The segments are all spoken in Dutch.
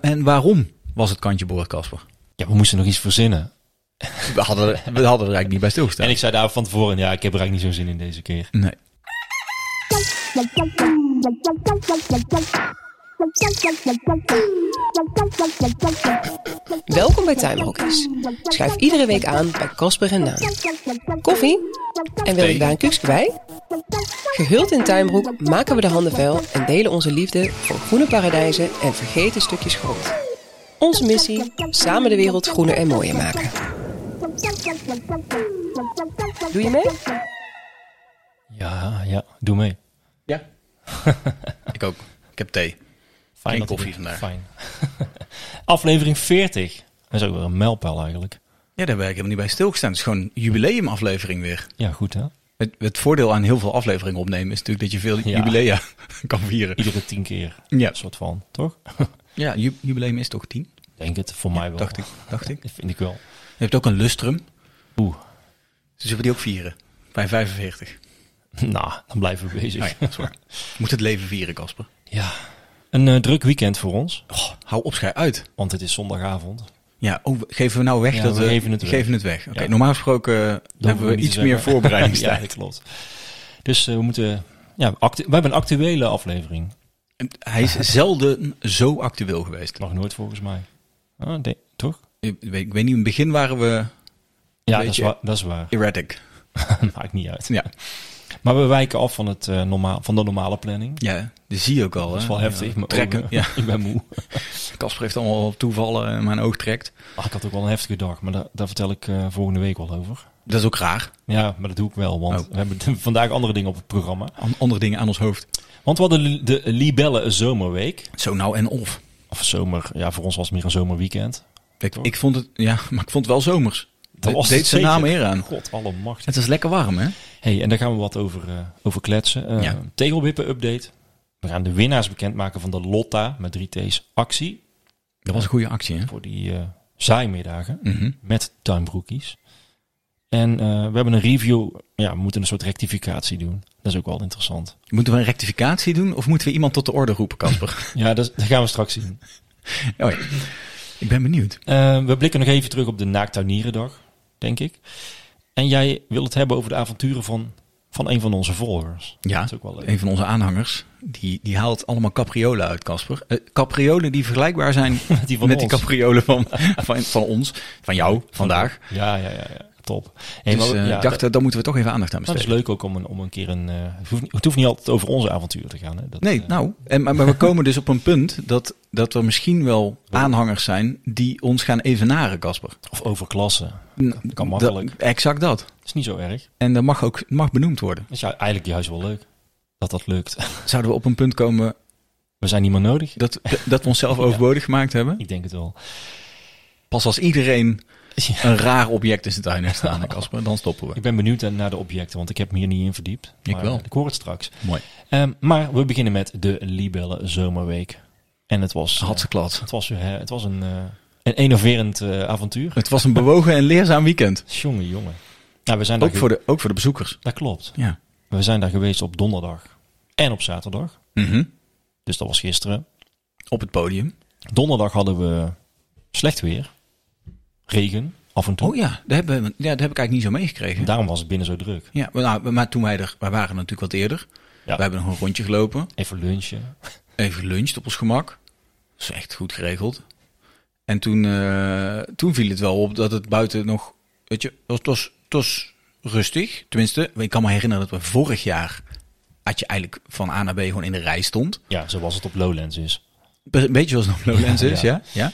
En waarom was het kantje boord, Casper? Ja, we moesten nog iets verzinnen. We hadden, we hadden er eigenlijk niet bij stilgestaan. En ik zei daar van tevoren, ja, ik heb er eigenlijk niet zo'n zin in deze keer. Nee. Welkom bij Tuinbroekjes. Schuif iedere week aan bij Casper en Naam. Koffie? En wil je daar een kuksje bij? Gehuld in tuinbroek maken we de handen vuil en delen onze liefde voor groene paradijzen en vergeten stukjes grond. Onze missie: samen de wereld groener en mooier maken. Doe je mee? Ja, ja, doe mee. Ja. ik ook. Ik heb thee. Fijn Geen dat koffie ik- vandaag. Fijn. Aflevering 40. Dat is ook weer een mijlpaal eigenlijk. Ja, daar ben ik helemaal niet bij stilgestaan. Het is gewoon een jubileumaflevering weer. Ja, goed hè? Het, het voordeel aan heel veel afleveringen opnemen is natuurlijk dat je veel Ja. jubilea kan vieren. Iedere tien keer. Ja. Een soort van, toch? Ja, ju- jubileum is toch tien? Denk het, voor mij wel. Dacht ik. Dacht ik. Dat vind ik wel. Je hebt ook een lustrum. Oeh, Dus zullen we die ook vieren? Bij 45. nou, dan blijven we bezig. Nou ja, dat is waar. Je Moet het leven vieren, Casper. Ja, een eh, druk weekend voor ons, Oh, hou op, schij uit. want het is zondagavond. Ja, oh, we- geven we nou weg Ja, dat we geven het weg. geven het weg. Oké, Ja. normaal gesproken eh, Dat hebben we hoeven iets niet te meer zeggen. ja, voorbereidingstijd. dat klopt. Dus eh, we moeten... Ja, actu- we hebben een actuele aflevering. En Hij is zelden zo actueel geweest. Nog nooit volgens mij. Ah, de- toch? Ik weet, ik weet niet, in het begin waren we Ja, dat is, Beetje- waar, dat is waar. erratic. Maakt niet uit. Ja, Maar we wijken af van, het, eh, normaal, van de normale planning. ja dat zie je ook al. Dat is hè. wel heftig. Ja, maar eh, trekken. Ja. Ik ben moe. Casper heeft allemaal toevallen en mijn oog trekt. Ah, ik had ook wel een heftige dag, maar daar, daar vertel ik eh, volgende week wel over. Dat is ook raar. Ja, maar dat doe ik wel, want Oh. we hebben vandaag andere dingen op het programma. An- andere dingen aan ons hoofd. Want we hadden li- de Libelle Zomerweek. Zo nou en of. Of zomer, ja, voor ons was het meer een zomerweekend. Ik, ik vond het, ja, maar ik vond het wel zomers. Dat was deed het zijn zeker. naam eer aan. God, alle macht. Het is lekker warm, hè? Hey, en daar gaan we wat over, eh, over kletsen. Eh, Ja. Tegelwippen update. We gaan de winnaars bekendmaken van de Lotta met 3 T's actie. Dat was een goede actie, hè? Voor die eh, zaaimiddagen Mhm. met tuinbroekies. En eh, we hebben een review. Ja, we moeten een soort rectificatie doen. Dat is ook wel interessant. Moeten we een rectificatie doen of moeten we iemand tot de orde roepen, Casper? Ja, dat, dat gaan we straks zien. oh, ja. Ik ben benieuwd. Eh, we blikken nog even terug op de Naaktuinierendag, denk ik. En jij wil het hebben over de avonturen van, van een van onze volgers. Ja, Dat is ook wel leuk. een van onze aanhangers, die, die haalt allemaal capriolen uit, Casper. Eh, capriolen die vergelijkbaar zijn met die van met ons. die capriolen van, van, van ons, van jou, vandaag. Ja, ja, ja, ja. top. Hey, dus maar we- eh, ja, ik dacht, dat, eh, daar moeten we toch even aandacht aan dat is besteden. leuk ook om een, om een keer een... eh, het, hoeft niet, het hoeft niet altijd over onze avonturen te gaan. Hè? Dat, Nee, eh, nou, en, maar, maar we komen dus op een punt dat, dat er misschien wel aanhangers zijn die ons gaan evenaren, Casper. Of over klassen. Dat kan makkelijk. exact dat. Dat is niet zo erg. En dat mag ook mag benoemd worden. Dat is ju- eigenlijk juist wel leuk. Dat dat lukt. Zouden we op een punt komen We zijn niet meer nodig. dat, dat we onszelf overbodig gemaakt hebben? Ik denk het wel. Pas als iedereen Ja. een raar object in zijn tuin heeft staan, Casper, dan stoppen we. Ik ben benieuwd eh, naar de objecten, want ik heb me hier niet in verdiept. Ik Maar, wel. eh, Ik hoor het straks. Mooi. Ehm, maar we beginnen met de Libelle Zomerweek. En het was, eh, Had ze klad. het was, eh, het was een, eh, een enerverend eh, avontuur. Het was een bewogen en leerzaam weekend. Jongen, jongen. Nou, we zijn daar Ook ge- voor de, ook voor de bezoekers. Dat klopt. Ja. We zijn daar geweest op donderdag en op zaterdag. Mhm. Dus dat was gisteren. Op het podium. Donderdag hadden we slecht weer. Regen, af en toe. Oh ja, daar, hebben, we- ja, daar heb ik eigenlijk niet zo meegekregen. Daarom was het binnen zo druk. Ja, maar, nou, maar toen wij er, wij waren natuurlijk wat eerder. Ja. We hebben nog een rondje gelopen. Even lunchen. Even geluncht op ons gemak. Dat is echt goed geregeld. En toen, eh, toen viel het wel op dat het buiten nog... Weet je, het was, het was, het was rustig. Tenminste, ik kan me herinneren dat we vorig jaar... had je eigenlijk van A naar B gewoon in de rij stond. Ja, zoals het op Lowlands is. Een beetje zoals het op Lowlands Ja, is, ja. ja.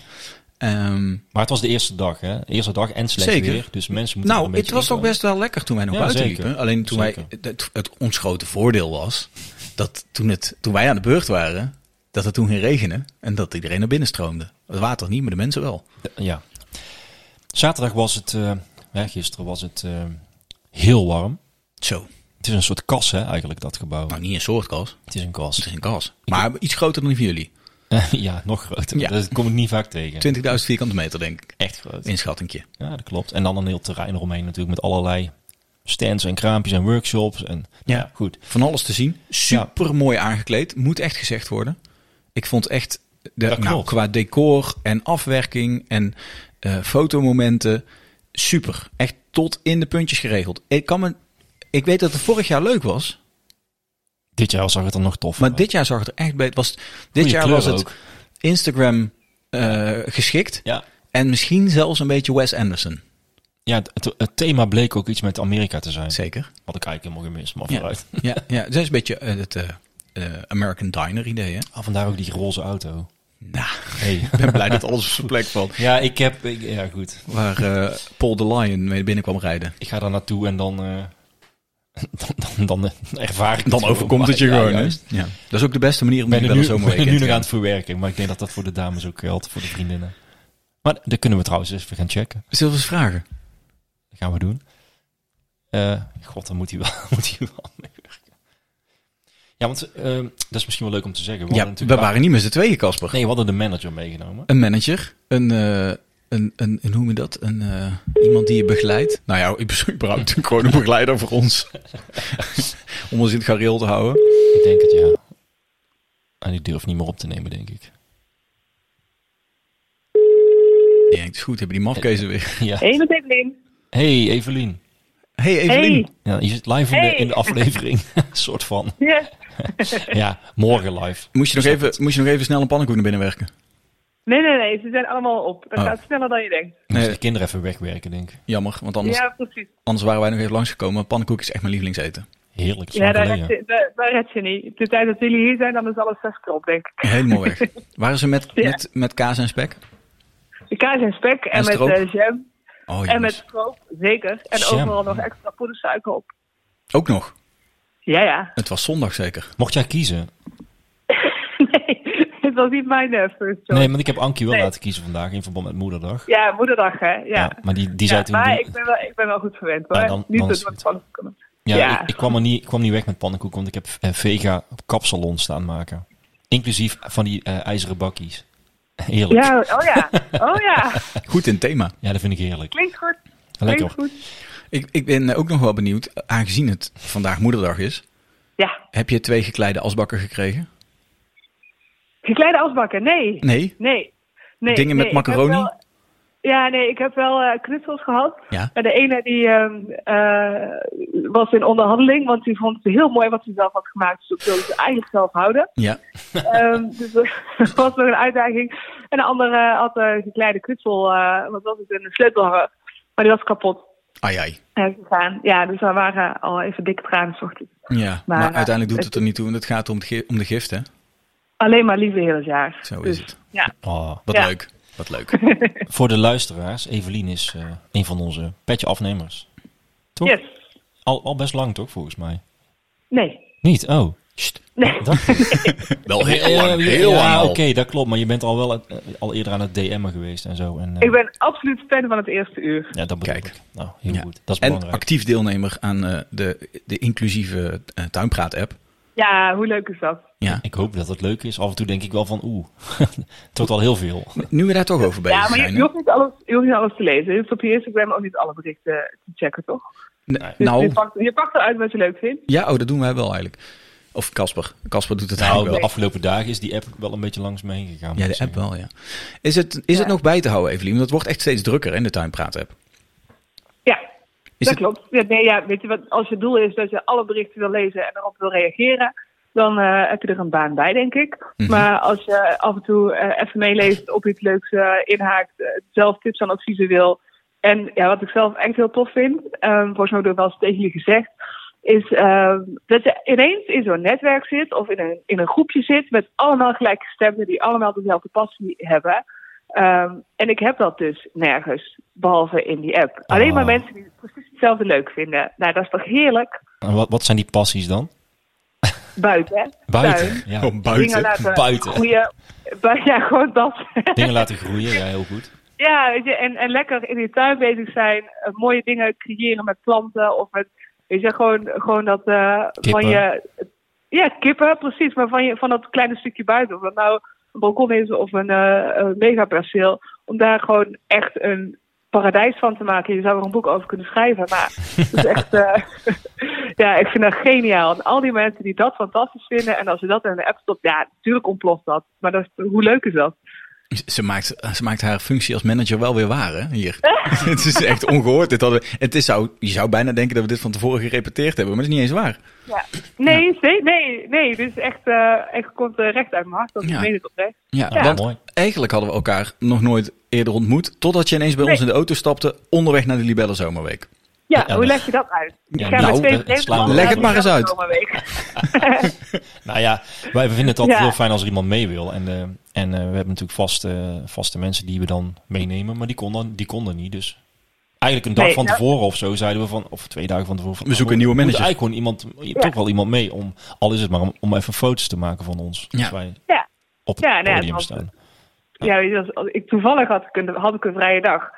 Ehm, Maar het was de eerste dag, hè? Eerste dag en slecht Zeker. weer. Dus mensen moeten nou, er een het beetje was toch inkomen. best wel lekker toen wij nog Ja, buiten zeker. liepen. Alleen toen wij, Zeker. het, het, ons grote voordeel was dat toen, het, toen wij aan de beurt waren, dat het toen ging regenen en dat iedereen naar binnen stroomde. Het water niet, maar de mensen wel. Ja. Zaterdag was het, eh, hè, gisteren was het eh, heel warm. Zo, Het is een soort kas, hè, eigenlijk, dat gebouw. nou niet een soortkas, het is een het kas. is een kas. Maar iets groter dan die van jullie. ja, nog groter. Ja. Dat kom ik niet vaak tegen. 20.000 vierkante meter denk ik, Echt groot. inschattingje. Ja, dat klopt. En dan een heel terrein eromheen natuurlijk met allerlei stands en kraampjes en workshops. En, Ja. ja, goed. Van alles te zien, super mooi aangekleed, moet echt gezegd worden. Ik vond echt, eh, De, Dat nou, klopt. qua decor en afwerking en eh, fotomomenten. Super. Echt tot in de puntjes geregeld. Ik, kan me, ik weet dat het vorig jaar leuk was. Dit jaar zag het er nog tof Maar uit. dit jaar zag het er echt beter. Was, dit Goeie jaar was kleuren het ook. Instagram eh, geschikt. Ja, En misschien zelfs een beetje Wes Anderson. ja het, het thema bleek ook iets met Amerika te zijn. Zeker. Wat ik eigenlijk helemaal gemist, maar Ja. vooruit. Ja, ja dat is een beetje eh, het eh, eh, American Diner idee. Hè? Ah, vandaar ook die roze auto. Nou, Hey. ik ben blij dat alles op zijn plek valt. ja, ik heb... ik- ja, goed. Waar eh, Paul de Lion mee binnen kwam rijden. Ik ga daar naartoe en dan... eh, dan, dan, dan eh, ervaar ik het Dan gewoon. overkomt het je Ja, gewoon. hè? juist. Ja. Dat is ook de beste manier om Ik die ben er wel nu, zo'n ben er nu weekend nog te aan het verwerken. Maar ik denk dat dat voor de dames ook geldt. Voor de vriendinnen. Maar dat kunnen we trouwens eens even gaan checken. gaan. Zullen we eens vragen? Dat gaan we doen. Eh, God, dan moet hij wel, moet hij wel mee werken. Ja, want ehm, dat is misschien wel leuk om te zeggen. We hadden Ja, we natuurlijk waren niet met z'n tweeën, Casper. Nee, we hadden de manager meegenomen. Een manager, een, eh, een, een, een, hoe noem je dat? Een, eh, iemand die je begeleidt. Nou ja, ik ben überhaupt gewoon een begeleider voor ons. Om ons in het gareel te houden. Ik denk het, ja. En ik durf niet meer op te nemen, denk ik. Ik denk, het is goed, hebben die mafkezen weer. Ja. Hey, met Evelien. Hey, Evelien. Hey Evelien. Hey. Ja, je zit live in, de, Hey. in de aflevering. soort van. Ja. Ja, morgen live. Moest, je nog even, moest je nog even snel een pannenkoek naar binnen werken? Nee, nee, nee. Ze zijn allemaal op. Dat Oh. gaat sneller dan je denkt. Moest Nee. de kinderen even wegwerken, denk ik. Jammer, want anders, Ja, precies. anders waren wij nog even langsgekomen. Pannenkoek is echt mijn lievelingseten. Heerlijk. Ja, daar red, ja. je, daar, daar red je niet. De tijd dat jullie hier zijn, dan is alles zes keer op, denk ik. Helemaal weg. Waren ze met, Ja. met, met kaas en spek? De kaas en spek en, En met stroop. eh, jam. Oh, en met jongens. stroop, zeker. En Jam. overal nog extra poedersuiker op. Ook nog. Ja, ja. Het was zondag zeker. Mocht jij kiezen? nee, het was niet mijn eh, first choice. Nee, want ik heb Ankie wel Nee. laten kiezen vandaag in verband met moederdag. Ja, moederdag, hè. Ja. Ja, maar die, die zei Ja, toen... maar doe- ik ben, wel, ik ben wel goed verwend, hoor. Ja, dan- niet dan dat is we het van kunnen. ja, ja. Ik, ik kwam er niet, ik kwam niet weg met pannenkoek, want ik heb eh, Vega op kapsalon staan maken. Inclusief van die eh, ijzeren bakkies. Heerlijk. Ja. Ja, oh ja. Oh ja. Goed in het thema. dat vind ik heerlijk. Klinkt goed. Lekker. Klinkt goed. Ik, ik ben ook nog wel benieuwd, aangezien het vandaag moederdag is. Ja. Heb je twee gekleide asbakken gekregen? Gekleide asbakken, nee. Nee? Nee. nee Dingen met nee, ik heb macaroni? wel- ja, nee, ik heb wel eh, knutsels gehad. Ja. En de ene die ehm, eh, was in onderhandeling, want die vond het heel mooi wat ze zelf had gemaakt. Dus dat wilde ze eigenlijk zelf houden. Ja. Ehm, dus dat was nog een uitdaging. En de andere had eh, een kleine knutsel, eh, wat was het, een sleutelhanger. Maar die was kapot Ai, ai. eh, gegaan. Ja, dus daar waren al even dikke tranen 's ochtends. Ja, maar, Maar, eh, uiteindelijk doet het het- er niet toe, want het gaat om, het gi- om de gift, hè? Alleen maar lieve heel het jaar. Zo Dus, is het. Ja, Oh. Wat Ja. leuk. Wat leuk. Voor de luisteraars, Evelien is eh, een van onze petje afnemers. Toch? yes. Al, al best lang toch, volgens mij? Nee. Niet? Oh. Nee. Wel Eh, heel lang. ja, Heel lang ja, al. Oké, dat klopt. Maar je bent al wel eh, al eerder aan het DM'en geweest en zo. En, eh, Ik ben absoluut fan van het eerste uur. Ja, dat bedoel Kijk. ik. Nou, heel Ja. goed. Dat is En belangrijk. actief deelnemer aan eh, de, de inclusieve eh, tuinpraat-app. Ja, hoe leuk is dat? Ja. Ik hoop dat het leuk is. Af en toe denk ik wel van oeh, tot al heel veel. Nu we daar toch over bezig Ja, maar je, zijn. je, hè? hoeft niet alles, je hoeft niet alles te lezen. Je hoeft op je Instagram ook niet alle berichten te checken, toch? N- Dus je, Nou, pakt, je pakt eruit wat je leuk vindt. ja, oh, dat doen wij wel eigenlijk. Of Casper. Casper doet het Nou, eigenlijk de wel. afgelopen dagen is die app wel een beetje langs me heen gegaan. moet Ja, ik de app zeggen. wel, ja. Is het, is het nog bij te houden, Evelien? Want dat wordt echt steeds drukker in de tuinpraat-app. Ja, Is dat het- klopt. Ja, nee, ja, weet je wat, als je doel is dat je alle berichten wil lezen en erop wil reageren, dan eh, heb je er een baan bij, denk ik. Mhm. Maar als je af en toe eh, even meeleest, op iets leuks eh, inhaakt, eh, zelf tips en adviezen wil. En ja, wat ik zelf echt heel tof vind, ehm volgens mij heb ik dat wel eens tegen jullie gezegd, is ehm, dat je ineens in zo'n netwerk zit of in een, in een groepje zit met allemaal gelijkgestemden die allemaal dezelfde passie hebben. Ehm, en ik heb dat dus nergens, behalve in die app. Alleen maar Ah. mensen die precies hetzelfde leuk vinden. Nou, dat is toch heerlijk? En wat, wat zijn die passies dan? Buiten, hè? Tuin. Buiten. Ja. Oh, Dingen laten buiten. groeien. Bu- ja, gewoon dat. Dingen laten groeien, ja, heel goed. ja, weet je, en, en lekker in die tuin bezig zijn. eh, mooie dingen creëren met planten of met, weet je, gewoon, gewoon dat eh, Kippen. van je... Ja, kippen, precies. Maar van, je, van dat kleine stukje buiten. Of dat nou een balkon is of een, eh, een megaperceel. Om daar gewoon echt een paradijs van te maken. Je zou er een boek over kunnen schrijven, maar het is echt... eh, Ja, ik vind dat geniaal. En al die mensen die dat fantastisch vinden en als ze dat in de app stoppen, ja, natuurlijk ontploft dat. Maar dat is, hoe leuk is dat? Ze maakt, ze maakt haar functie als manager wel weer waar, hè? Hier. het is echt ongehoord. Dit hadden, we- het is zou, je zou bijna denken dat we dit van tevoren gerepeteerd hebben, maar dat is niet eens waar. Ja. Nee, nee, nee, nee. Dit is echt, eh, echt komt eh, recht uit mijn hart. Dat Ja. ik meen het oprecht. Ja, Ja. want Ah, Mooi. eigenlijk hadden we elkaar nog nooit eerder ontmoet, totdat je ineens bij Nee. ons in de auto stapte, onderweg naar de Libelle Zomerweek. Ja, Ja, hoe dat- leg je dat uit? Ik Ja, ga nou, met dat- twee dat vreemde slaan we mannen Leg naar het maar de eens uit. zomerweek. Nou ja, wij vinden het altijd Ja. heel fijn als er iemand mee wil. En, eh, en eh, we hebben natuurlijk vast, eh, vaste mensen die we dan meenemen, maar die konden, die konden niet. Dus eigenlijk een dag Nee, van nou- tevoren of zo zeiden we van, of twee dagen van tevoren. Van, We zoeken nou, een nieuwe moet manager. eigenlijk gewoon iemand, toch wel iemand mee om, al is het maar om, om even foto's te maken van ons. Ja. Als wij Ja. op het Ja, nou ja, podium het was- staan. Ja, weet je, als- als ik, toevallig had ik een, had ik een vrije dag.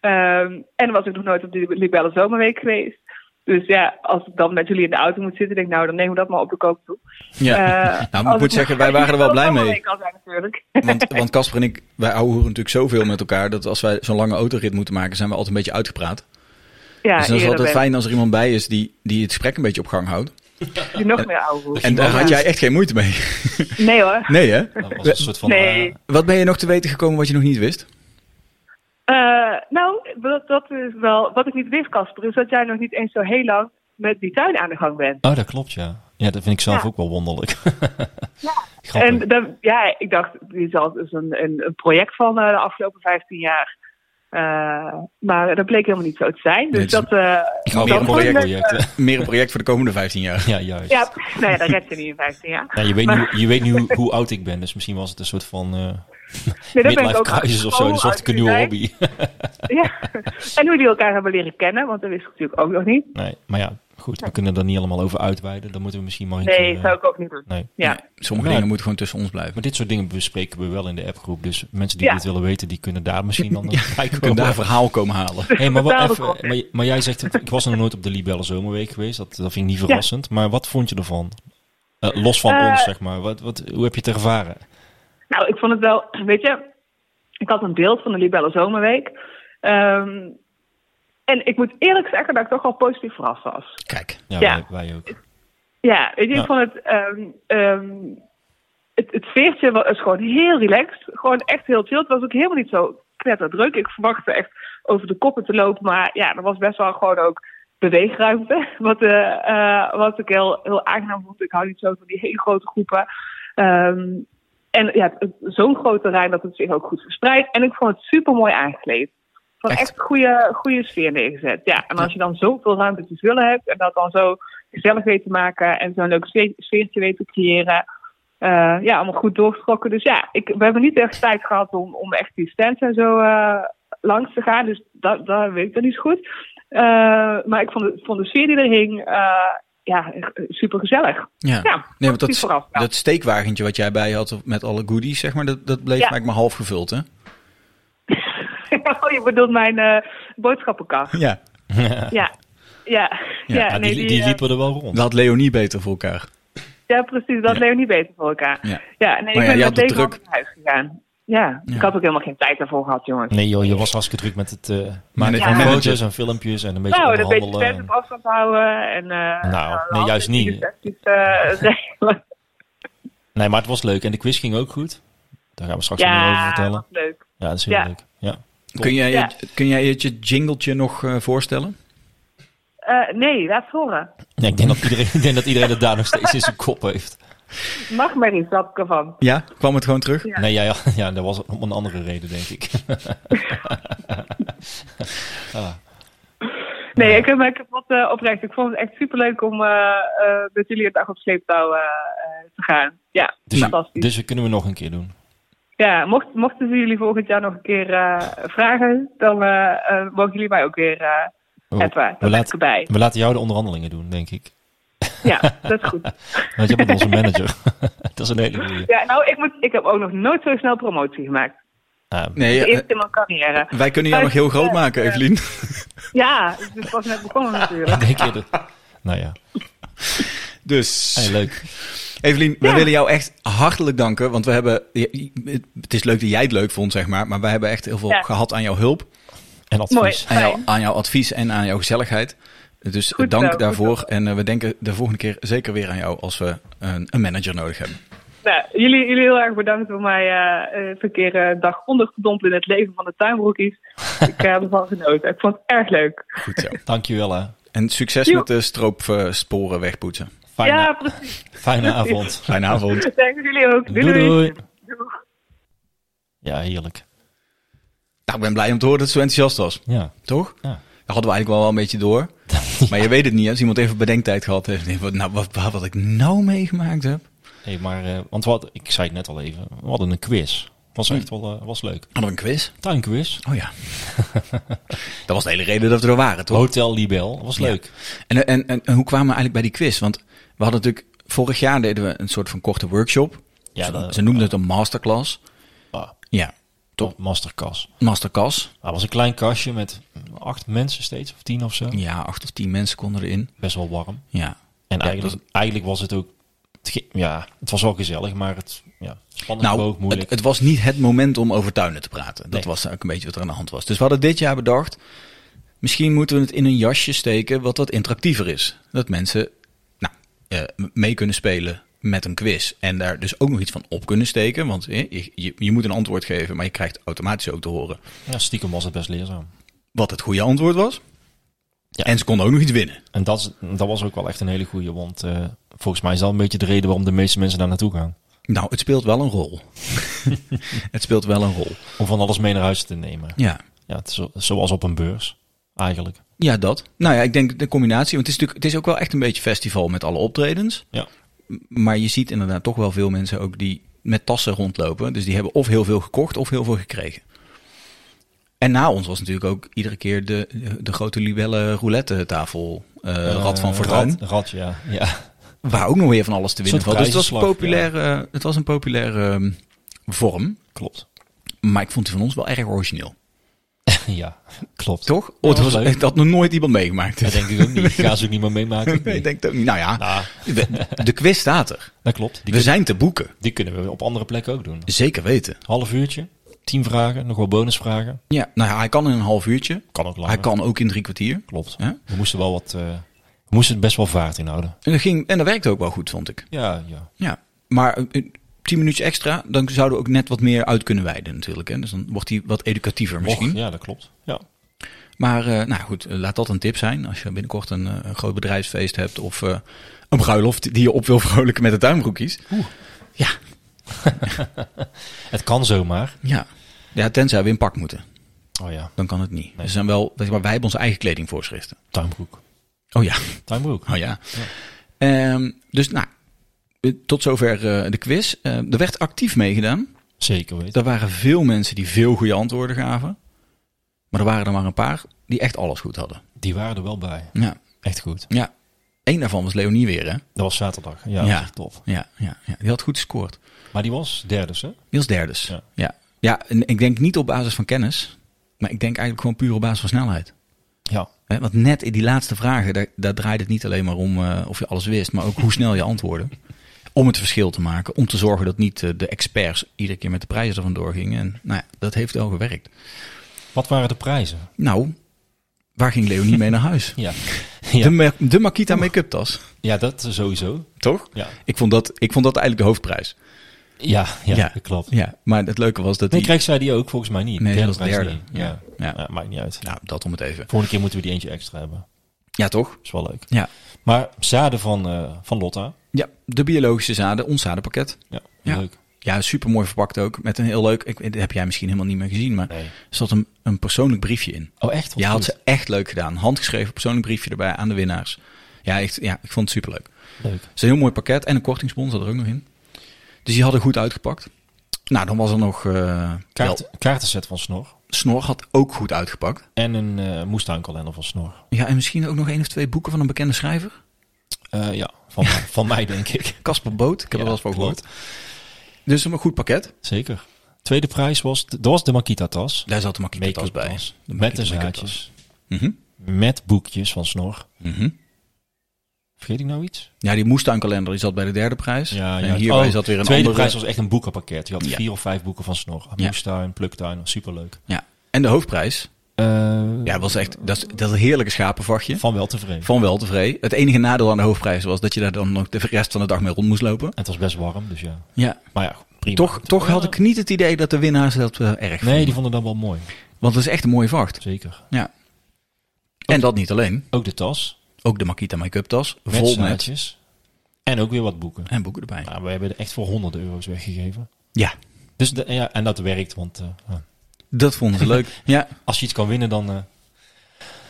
Ehm, en dan was ik nog nooit op de Libelle Zomerweek geweest. Dus ja, als ik dan met jullie in de auto moet zitten, denk ik, nou, dan nemen we dat maar op de koop toe. Ja. Eh, nou, als ik moet zeggen, wij waren er wel blij mee. Zomerweek al zijn, natuurlijk. Want want Casper en ik, wij ouwehoeren natuurlijk zoveel met elkaar, dat als wij zo'n lange autorit moeten maken, zijn we altijd een beetje uitgepraat. dus Ja, dan is het eerder altijd ben- fijn als er iemand bij is die, die het gesprek een beetje op gang houdt. Die nog meer ouwe hoer. En daar had jij echt geen moeite mee. Nee hoor. Nee, hè? Dat was een soort van... Nee. eh, Wat ben je nog te weten gekomen wat je nog niet wist? Eh, nou, dat, dat is wel... Wat ik niet wist, Casper, is dat jij nog niet eens zo heel lang met die tuin aan de gang bent. oh, dat klopt, ja. Ja, dat vind ik zelf Ja. ook wel wonderlijk. Grappig. En dan, ja, ik dacht, dit is al- is dus een, een, een project van eh, de afgelopen 15 jaar. Eh, maar dat bleek helemaal niet zo te zijn. Dus Nee, het is- dat, eh Nou, Meer dat vond ik een project, leuk. project, eh. Meer een project voor de komende 15 jaar. Ja, juist. ja, nee, dat redt ze niet in 15 jaar. Nou, je weet nu, je weet nu hoe, hoe oud ik ben, dus misschien was het een soort van eh Nee, dat ben ik midlife ook Oh, crisis of zo. gewoon Dus zocht ik een nieuwe uit die hobby. tijd. Ja. En hoe die elkaar hebben leren kennen, want dat wist ik natuurlijk ook nog niet. Nee, maar ja, goed, we kunnen er niet allemaal over uitweiden. Dan moeten we misschien maar een keer, Nee, eh, zou ik ook niet doen. nee. Ja. Nee, sommige Nou, dingen moeten gewoon tussen ons blijven. Maar dit soort dingen bespreken we wel in de appgroep. Dus mensen die Ja. dit willen weten, die kunnen daar misschien dan eh, bij We kunnen komen. daar verhaal komen halen. Dus- Hey, maar, wat Betaalde even, content. maar, maar jij zegt, het, ik was nog nooit op de Libelle Zomerweek geweest. Dat, dat vind ik niet verrassend. Maar wat vond je ervan? Eh, los van Eh, ons, zeg maar. Wat, wat, hoe heb je het ervaren? Nou, ik vond het wel, weet je, ik had een beeld van de Libelle Zomerweek. Ehm, en ik moet eerlijk zeggen dat ik toch wel positief verrast was. Kijk, Ja, ja. Wij, wij ook. Ja, weet je, Ja. ik vond het, ehm, ehm, het... Het veertje wa- is gewoon heel relaxed. Gewoon echt heel chill. Het was ook helemaal niet zo knetterdruk. Ik verwachtte echt over de koppen te lopen. Maar ja, er was best wel gewoon ook beweegruimte. Wat, eh, eh, wat ik heel, heel aangenaam vond. Ik hou niet zo van die hele grote groepen. Ehm, en ja, het- het- zo'n groot terrein dat het zich ook goed verspreidt. En ik vond het super mooi aangekleed. Van Echt? echt, goede, goede sfeer neergezet. Ja, en als je dan zoveel ruimte te vullen hebt en dat dan zo gezellig weet te maken en zo'n leuk sfeer- sfeertje weet te creëren. Eh, ja, allemaal goed doorgetrokken. Dus ja, ik, we hebben niet echt tijd gehad om, om echt die stands en zo eh, langs te gaan. Dus dat, dat weet ik dan niet zo goed. Eh, maar ik vond de, vond de sfeer die er hing, eh, ja, super gezellig. ja. Ja, nee, want die dat, vooraf, ja. dat steekwagentje wat jij bij je had met alle goodies, zeg maar, dat, dat bleef Ja. eigenlijk maar half gevuld, hè? oh, je bedoelt mijn eh boodschappenkast. Ja. Ja. Ja, ja, Ja, nee, Ah, die, die, die eh, liepen er wel rond. Dat had Leonie beter voor elkaar. ja, precies. Dat Ja. leeuw niet beter voor elkaar. Ja. Ja, nee, Maar ik ja, ben je met had het Lego druk. naar huis gegaan. Ja, Ja. ik had ook helemaal geen tijd daarvoor gehad, jongens. Nee joh, je was hartstikke druk met het eh maken Ja. van Ja. foto's en filmpjes en een beetje nou, een beetje onderhandelen. fans op afstand houden. En, eh, eh, Nou, eh, nee, juist niet. handjes, eh, regelen. en- nee, maar het was leuk. En de quiz ging ook goed. Daar gaan we straks nog meer over ja, vertellen. wat leuk. Ja, dat is heel Ja. leuk. Ja. Kun jij, Ja. je, kun jij het je jingletje nog eh, voorstellen? Eh, nee, laat horen. Nee, ik, denk dat iedereen, ik denk dat iedereen het daar nog steeds in zijn kop heeft. Mag maar iets, snap ik ervan. Ja? Kwam het gewoon terug? Ja. Nee, ja, ja, ja, dat was om een andere reden, denk ik. Nee, ik heb me kapot eh, oprecht. Ik vond het echt superleuk om eh, eh, met jullie een dag op sleeptouw eh, eh, te gaan. Ja, Dus, fantastisch. dus dat kunnen we nog een keer doen. Ja, mocht, mochten ze jullie volgend jaar nog een keer eh, vragen, dan eh, eh, mogen jullie mij ook weer eh We, appen. Oh, we Dan ben ik laten, erbij. we laten jou de onderhandelingen doen, denk ik. Ja, dat is goed. Want jij bent onze manager. dat is een hele goede. Ja, nou, ik, moet, ik heb ook nog nooit zo snel promotie gemaakt. Nou, Nee, De eh, eerste in mijn carrière. wij kunnen jou nog heel groot maken, Evelien. Ja, dus het was net begonnen natuurlijk. denk je dat? Nou ja, Dus... Hey, leuk. Evelien, we Ja. willen jou echt hartelijk danken. Want we hebben. Het is leuk dat jij het leuk vond, zeg maar. Maar wij hebben echt heel veel Ja. gehad aan jouw hulp. En advies. Mooi. Aan, Fijn. jou, aan jouw advies en aan jouw gezelligheid. Dus Goed dank zo, daarvoor. goed zo. En eh, we denken de volgende keer zeker weer aan jou als we een, een manager nodig hebben. Nou, jullie, jullie heel erg bedankt om mij eh, eh, even een keer eh, dag ondergedompeld in het leven van de tuinbroekies. ik eh, heb ervan genoten. Ik vond het erg leuk. Goed zo. Dankjewel hè. En succes Jo. met de stroopsporen wegpoetsen. Fijne, Ja, precies. fijne avond. Fijne avond. Dank jullie ook. Doei doei. doei. Ja, heerlijk. Nou, ik ben blij om te horen dat ze zo enthousiast was. Ja. Toch? Ja. Dat hadden we eigenlijk wel een beetje door. Maar je weet het niet. Als iemand even bedenktijd gehad heeft. denkt van, Nou, wat, wat, wat ik nou meegemaakt heb. Hey, maar, eh, want wat, ik zei het net al even, we hadden een quiz. Was echt wel eh, was leuk. Hadden we een quiz? Tuinquiz. Oh ja. dat was de hele reden dat we er waren, toch? Hotel Libel. Was Ja. Oh, leuk. En, en, en, en hoe kwamen we eigenlijk bij die quiz? Want we hadden natuurlijk... Vorig jaar deden we een soort van korte workshop. Ja, ze, dat- ze noemden het een masterclass. Ah, Ja, top. Masterclass. masterclass. Dat was een klein kastje met acht mensen steeds, of tien of zo. Ja, acht of tien mensen konden erin. Best wel warm. Ja. En Ja, eigenlijk, eigenlijk was het ook, het ge- ja, het was wel gezellig, maar het, ja, spannend Nou, ook het, moeilijk. het was niet het moment om over tuinen te praten. Dat Nee. was ook een beetje wat er aan de hand was. Dus we hadden dit jaar bedacht... Misschien moeten we het in een jasje steken wat wat interactiever is. Dat mensen nou, eh, mee kunnen spelen met een quiz. En daar dus ook nog iets van op kunnen steken. Want eh, je, je, je moet een antwoord geven, maar je krijgt automatisch ook te horen ja, stiekem was het best leerzaam. wat het goede antwoord was. Ja. En ze konden ook nog iets winnen. En dat, is- dat was ook wel echt een hele goeie, want eh, volgens mij is dat een beetje de reden waarom de meeste mensen daar naartoe gaan. Nou, het speelt wel een rol. het speelt wel een rol. Om van alles mee naar huis te nemen. Ja. Ja, het is zo- zoals op een beurs, eigenlijk. Ja, dat. Nou ja, ik denk de combinatie. Want het is natuurlijk, het is ook wel echt een beetje festival met alle optredens. Ja. M- Maar je ziet inderdaad toch wel veel mensen ook die met tassen rondlopen. Dus die hebben of heel veel gekocht of heel veel gekregen. En na ons was natuurlijk ook iedere keer de, de grote libelle roulette tafel. eh, Rad van Fortuin. Rad, Rad, ja. ja. Waar ook nog weer van alles te winnen Soort valt. Dus het was, een prijzenslag, populaire, het was een populaire ehm, vorm. Klopt. Maar ik vond die van ons wel erg origineel. ja, klopt. Toch? Oh, Ja, het was was, leuk. het had nog nooit iemand meegemaakt. Dat denk ik ook niet. Ga ze ook niet meer meemaken. Nee, Nee. ik denk het ook niet. Nou ja, Nou, we- de quiz staat er. dat klopt. Die, We zijn te boeken. die kunnen we op andere plekken ook doen. Zeker weten. Half uurtje, tien vragen, nog wel bonusvragen. Ja, nou ja, hij kan in een half uurtje. Kan ook langer. Hij kan ook in drie kwartier. Klopt. Ja? We moesten wel wat... eh, we moesten best wel vaart inhouden. En dat, ging, en dat werkte ook wel goed, vond ik. Ja, ja. Ja, maar eh, eh, tien minuutjes extra, dan zouden we ook net wat meer uit kunnen wijden natuurlijk. Hè? Dus dan wordt hij wat educatiever misschien. Ja, dat klopt. Ja. Maar eh, nou goed, eh, laat dat een tip zijn. Als je binnenkort een, eh, een groot bedrijfsfeest hebt of eh, een bruiloft die je op wil vrolijken met de tuinbroekies. Ja, Het kan zomaar. ja. ja, tenzij we in pak moeten. Oh ja, Dan kan het niet. Er zijn wel, zeg maar, wij hebben onze eigen kledingvoorschriften. tuinbroek. Oh ja, Tuinbroek. oh ja. Ehm, dus nou, eh, tot zover eh, de quiz. Eh, er werd actief meegedaan. Zeker weten. Er waren veel mensen die veel goede antwoorden gaven. Maar er waren er maar een paar die echt alles goed hadden. Die waren er wel bij. Ja, Echt goed. ja. Eén daarvan was Leonie weer, hè? Dat was zaterdag. Ja, Ja. Dat was echt tof. Ja, ja, ja. die had goed gescoord. Maar die was derde, hè? Niels Derdes. Ja. Ja. ja. en ik denk niet op basis van kennis, maar ik denk eigenlijk gewoon puur op basis van snelheid. Ja. Hè, Want net in die laatste vragen, daar, daar draait het niet alleen maar om eh, of je alles wist, maar ook hoe snel je antwoordde. Om het verschil te maken, om te zorgen dat niet eh, de experts iedere keer met de prijzen er vandoor gingen. En nou ja, dat heeft wel gewerkt. Wat waren de prijzen? Nou, waar ging Leonie mee naar huis? Ja. Ja, De, Ma- de Makita make-up tas. ja dat sowieso. Toch? Ja. Ik vond, dat, ik vond dat eigenlijk de hoofdprijs. Ja, ja, dat klopt. Ja, maar het leuke was dat Nee, die... krijgt zij die ook volgens mij niet. Nee, dat was prijs derde. niet. Ja. Ja. Ja. maakt niet uit. Nou, dat om het even. Volgende keer moeten we die eentje extra hebben. Ja, toch? Is wel leuk. Ja. Maar zaden van, eh, van Lotta. Ja, de biologische zaden, ons zadenpakket. Ja, Ja. leuk. Ja, supermooi verpakt ook. Met een heel leuk, ik, dat heb jij misschien helemaal niet meer gezien, maar Nee. er zat een, een persoonlijk briefje in. Oh, echt? Wat Ja, had goed. ze echt leuk gedaan. Handgeschreven persoonlijk briefje erbij aan de winnaars. Ja, echt, ja ik vond het superleuk. Leuk. Het is een heel mooi pakket en een kortingsbon zat er ook nog in. Dus die hadden goed uitgepakt. Nou, dan was er nog... eh wel, Kaart, kaartenset van Snor. Snor had ook goed uitgepakt. En een eh, moestuinkalender van Snor. Ja, en misschien ook nog één of twee boeken van een bekende schrijver. Eh, ja, van, van mij denk ik. Casper Boot, ik heb Ja, er wel eens van klopt. gehoord. Dus een goed pakket. Zeker. Tweede prijs was, dat was de Makita tas. Daar zat de makkelijke tas Make-up bij. tas. Met de zaadjes. Mhm, Met boekjes van Snor. mhm. Vergeet ik nou iets? Ja, die moestuinkalender die zat bij de derde prijs. en hierbij Oh, zat weer een tweede andere. prijs was echt een boekenpakket. Je had Ja. vier of vijf boeken van Snor. Ja. Moestuin, pluktuin, superleuk. Ja. En de hoofdprijs. Eh, eh, Ja, dat was echt dat is, dat is een heerlijke schapenvachtje. Van wel tevreden. Van wel tevreden. Het enige nadeel aan de hoofdprijs was dat je daar dan nog de rest van de dag mee rond moest lopen. Het was best warm, dus ja. Ja. Maar ja, goed, prima. Toch, toch had ik niet het idee dat de winnaars dat eh, erg Nee, vonden. die vonden dat wel mooi. Want het is echt een mooie vacht. Zeker. Ja. En dat niet alleen. Ook de tas. Ook de Makita make-up tas. Met Vol met. zaadjes. En ook weer wat boeken. En boeken erbij. Nou, we hebben er echt voor honderden euro's weggegeven. Ja, Dus de- ja, en dat werkt, want eh, dat vonden ze leuk. Ja, als je iets kan winnen, dan, eh,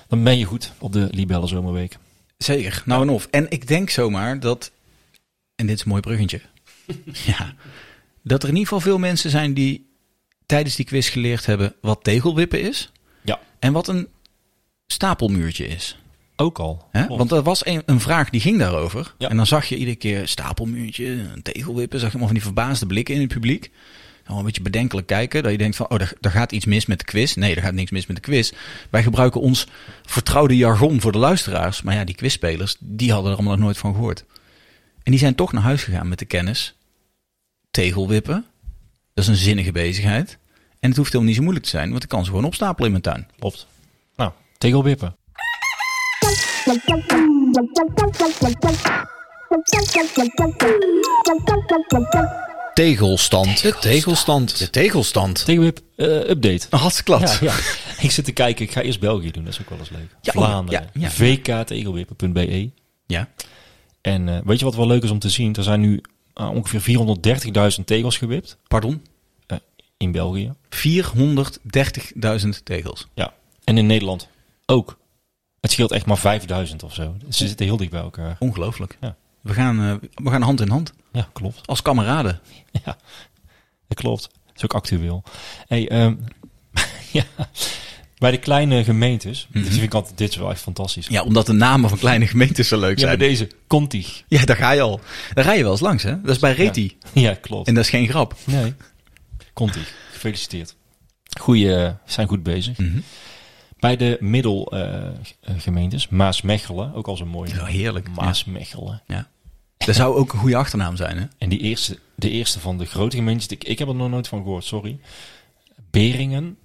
dan ben je goed op de Libelle Zomerweek. zeker. Nou en of. En ik denk zomaar dat... En dit is een mooi bruggetje. ja. Dat er in ieder geval veel mensen zijn die tijdens die quiz geleerd hebben wat tegelwippen is. Ja, En wat een stapelmuurtje is. ook al. Hè? Klopt. Want er was een, een vraag die ging daarover. Ja. En dan zag je iedere keer stapelmuurtje, een tegelwippen. Zag je allemaal van die verbaasde blikken in het publiek. Nou, een beetje bedenkelijk kijken. Dat je denkt van, oh, daar, daar gaat iets mis met de quiz. Nee, er gaat niks mis met de quiz. Wij gebruiken ons vertrouwde jargon voor de luisteraars. Maar ja, die quizspelers, die hadden er allemaal nog nooit van gehoord. En die zijn toch naar huis gegaan met de kennis. Tegelwippen, dat is een zinnige bezigheid. En het hoeft helemaal niet zo moeilijk te zijn, want ik kan ze gewoon opstapelen in mijn tuin. Klopt. Nou, tegelwippen. Tegelstand. De tegelstand. De tegelstand. Tegelwip eh, update. Een hartstikke klap. Ja, ja. ik zit te kijken. Ik ga eerst België doen. Dat is ook wel eens leuk. Ja, Vlaanderen. ja, ja. vktegelwippen.be ja. E. En eh, weet je wat wel leuk is om te zien? Er zijn nu ah, ongeveer 430.000 tegels gewipt Pardon? eh, in België. 430.000 tegels. Ja. En in Nederland ook. Het scheelt echt maar 5000 of zo. Ze zitten heel dicht bij elkaar. Ongelooflijk. Ja. We, gaan, eh, we gaan hand in hand. Ja, klopt. Als kameraden. Ja, dat klopt. Dat is ook actueel. Hey, ehm, ja, bij de kleine gemeentes, dit vind ik altijd, dit is wel echt fantastisch. Mhm. Ja, omdat de namen van kleine gemeentes zo leuk Ja, bij zijn. deze, Conti. Ja, daar ga je al. Daar rij je wel eens langs, hè? Dat is bij Reti. Ja, klopt. En dat is geen grap. Nee, Conti, gefeliciteerd. Goeie, eh, zijn goed bezig. Mhm. Bij de middelgemeentes, Maasmechelen, ook al zo'n mooie. Ja, heerlijk. Maasmechelen. Ja. Dat zou ook een goede achternaam zijn, hè? En die eerste, de eerste van de grote gemeentes, ik, ik heb er nog nooit van gehoord, sorry. Beringen.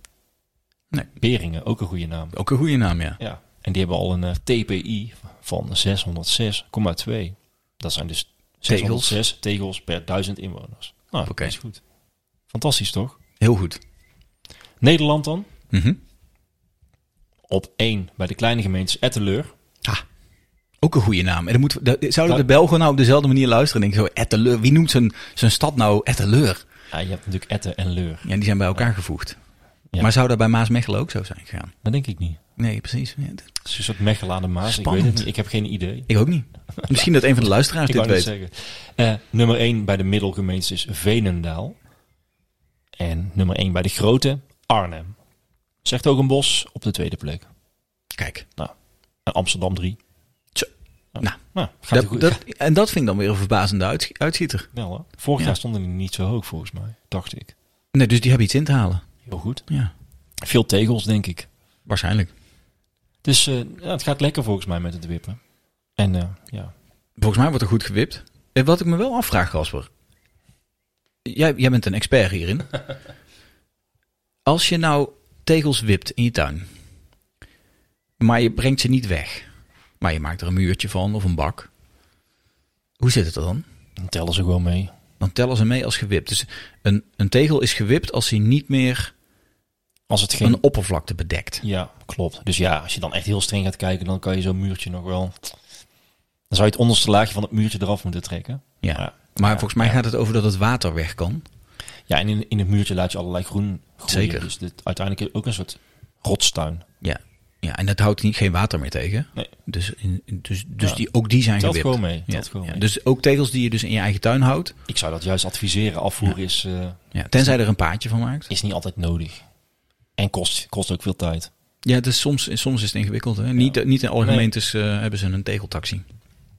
Nee. Beringen, ook een goede naam. Ook een goede naam, ja. Ja, en die hebben al een eh, TPI van 606,2. Dat zijn dus Tegels. 606 tegels per 1000 inwoners. Nou, Oké. dat is goed. Fantastisch toch? Heel goed. Nederland dan Mhm. op 1 bij de kleine gemeentes Etteleur. Ah, ook een goede naam. En dan moeten we, dat- zouden Nou- de Belgen nou op dezelfde manier luisteren? En denken zo, Etteleur. Wie noemt zijn, zijn stad nou Etteleur? Ja, je hebt natuurlijk Etten en Leur. Ja, die zijn bij elkaar gevoegd. Ja. Maar zou dat bij Maasmechelen ook zo zijn gegaan? Dat denk ik niet. Nee, precies. Ja, dat- Het is een soort Mechelen aan de Maas. Ik Spannend. weet het niet. Ik heb geen idee. Ik ook niet. Misschien dat een van de luisteraars Ik dit wou net weet. zeggen. Eh, nummer 1 bij de middelgemeentes is Venendaal. En nummer 1 bij de grote Arnhem. Zegt ook een bos op de tweede plek. Kijk, Nou, en Amsterdam 3. Zo. Nou, Nou, nou, gaat dat, het goed. dat, en dat vind ik dan weer een verbazende uit, uitschieter. Wel, hè? Vorig Ja. jaar stonden die niet zo hoog volgens mij, dacht ik. Nee, dus die hebben iets in te halen. Heel goed. Ja, Veel tegels, denk ik. waarschijnlijk. Dus eh, ja, het gaat lekker volgens mij met het wippen. En eh, ja, Volgens mij wordt er goed gewipt. Eh, Wat ik me wel afvraag, Casper. Jij, jij bent een expert hierin. Als je nou tegels wipt in je tuin, maar je brengt ze niet weg, maar je maakt er een muurtje van of een bak, hoe zit het er dan? dan tellen ze gewoon mee. Dan tellen ze mee als gewipt. Dus een, een tegel is gewipt als hij niet meer Als het geen... een oppervlakte bedekt. Ja, klopt. Dus ja, als je dan echt heel streng gaat kijken, dan kan je zo'n muurtje nog wel... Dan zou je het onderste laagje van het muurtje eraf moeten trekken. Ja. Ja. Maar Ja, volgens mij ja. gaat het over dat het water weg kan. Ja, en in, in het muurtje laat je allerlei groen groeien. Zeker. Dus dit, uiteindelijk ook een soort rotstuin. Ja. Ja, en dat houdt niet, geen water meer tegen. Nee. Dus, in- dus, dus Ja. die, ook die zijn Telt gewipt. gewoon mee, Ja. telt gewoon Ja, mee. Dus ook tegels die je dus in je eigen tuin houdt. Ik zou dat juist adviseren. Afvoeren is... eh, Ja, tenzij je er een paadje van maakt. is niet altijd nodig. En kost, kost ook veel tijd. Ja, het is soms, soms is het ingewikkeld. Hè? Niet, niet in alle gemeentes eh, hebben ze een tegeltaxi.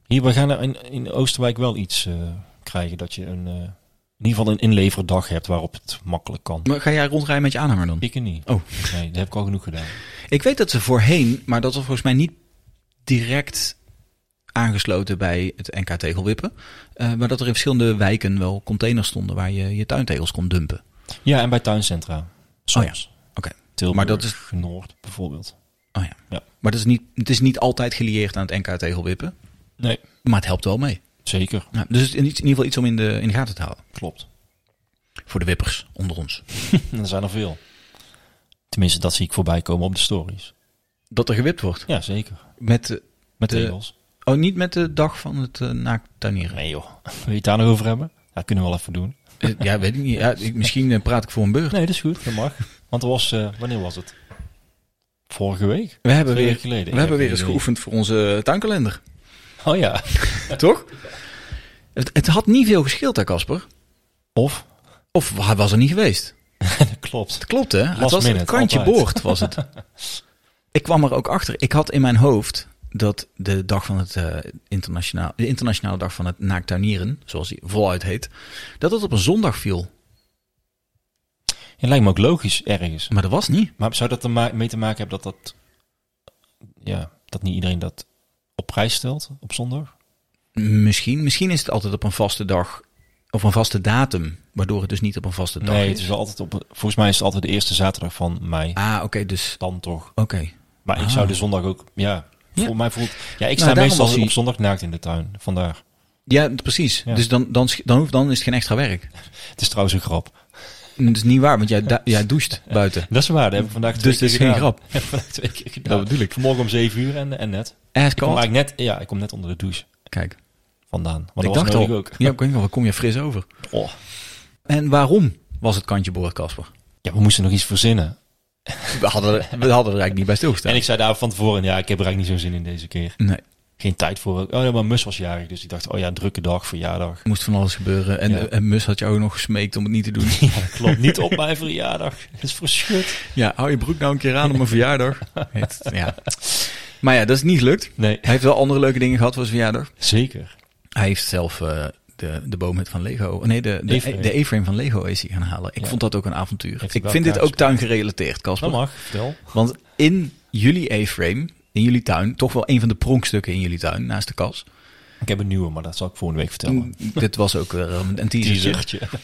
Hier, we gaan er in, in Oosterwijk wel iets eh, krijgen dat je een, eh, in ieder geval een inleverdag hebt waarop het makkelijk kan. Maar ga jij rondrijden met je aanhanger dan? Ik er niet. Oh. Nee, dat heb ik al genoeg gedaan. Ik weet dat ze voorheen, maar dat was volgens mij niet direct aangesloten bij het NK Tegelwippen. Eh, maar dat er in verschillende wijken wel containers stonden waar je je tuintegels kon dumpen. Ja, en bij tuincentra. Soms. Oké. Tilburg, Oh Maar dat is- Noord bijvoorbeeld. Oh ja. Ja. Maar dat is niet, het is niet altijd gelieerd aan het NK tegelwippen. Nee, Maar het helpt wel mee. zeker. Ja, dus het is in ieder geval iets om in de, in de gaten te houden. Klopt. Voor de wippers onder ons. En er zijn er veel. Tenminste, dat zie ik voorbij komen op de stories. Dat er gewipt wordt. Ja, zeker. Met, de- Met De- tegels. oh, niet met de dag van het eh naaktuinieren. Nee joh. Wil je het daar nog over hebben? Ja, kunnen we wel even doen. Eh, Ja, weet ik niet. Ja, ik- misschien eh, praat ik voor een beurt. Nee, dat is goed. Dat mag. Want er was, eh, wanneer was het? Vorige week? We hebben Twee weer, weken geleden. we hebben weer Ja, eens nee. geoefend voor onze eh, tuinkalender. Oh ja. Toch? Het, het had niet veel geschild, hè, Casper? Of? Of hij was er niet geweest. Dat klopt. Het klopt, hè? het Last was minute, het kantje altijd. boord, was het. ik kwam er ook achter. Ik had in mijn hoofd dat de dag van het eh, internationaal, de internationale dag van het naaktuinieren, zoals die voluit heet, dat het op een zondag viel. Het lijkt me ook logisch ergens. Maar dat was niet. Maar zou dat ermee te maken hebben dat dat... Ja, dat niet iedereen dat op prijs stelt op zondag? Misschien, misschien is het altijd op een vaste dag of een vaste datum, waardoor het dus niet op een vaste dag Nee, het is. is wel altijd op... Volgens mij is het altijd de eerste zaterdag van mei. Ah, oké, dus Dan toch. oké. Maar ik Ah. zou de zondag ook... Ja, Ja. voor mij voelt... Ja, ik Nou, sta daarom meestal was hij- op zondag naakt in de tuin. Vandaar. Ja, precies. Ja. Dus dan, dan, sch- dan, hoeft, dan is het geen extra werk. Het is trouwens een grap. Dat is niet waar, want jij, da- jij doucht buiten. Dat is waar. Dat heb ik vandaag twee Dus dit keer is geen gedaan. grap. Heb ik vandaag twee keer gedaan. Dat bedoel ik. Vanmorgen om zeven uur en, en net. Ik kom Ijskoud. eigenlijk net... Ja, ik kom net onder de douche Kijk, vandaan. Maar ik dat dacht was nodig al. ook. Ja, ik denk wel, wat kom je fris over. Oh. En waarom was het kantje boord, Casper? Ja, we moesten nog iets verzinnen. We hadden, er- we hadden er eigenlijk niet bij stilgestaan. En ik zei daar van tevoren, ja, ik heb er eigenlijk niet zo'n zin in deze keer. Nee, Geen tijd voor. Oh ja, maar Mus was jarig, dus ik dacht, oh ja, drukke dag, verjaardag. er moest van alles gebeuren. En, Ja. en Mus had jou nog gesmeekt om het niet te doen. Klopt, niet op mijn verjaardag. Dat is verschut. ja, hou je broek nou een keer aan op mijn verjaardag. Het- ja. Maar ja, dat is niet gelukt. Nee, Hij heeft wel andere leuke dingen gehad voor zijn verjaardag. zeker. Hij heeft zelf eh, de, de boomhut van Lego. Nee, de, de, A-frame. de E-frame van Lego is hij gaan halen. Ik Ja. vond dat ook een avontuur. Heeft hij ik wel vind dit ook kaartjes tuingerelateerd, Dat Casper. mag, vertel. Want in jullie E-frame, in jullie tuin, toch wel een van de pronkstukken in jullie tuin, naast de kas. Ik heb een nieuwe, maar dat zal ik volgende week vertellen. Dit was ook weer een, een teasertje. Teasertje.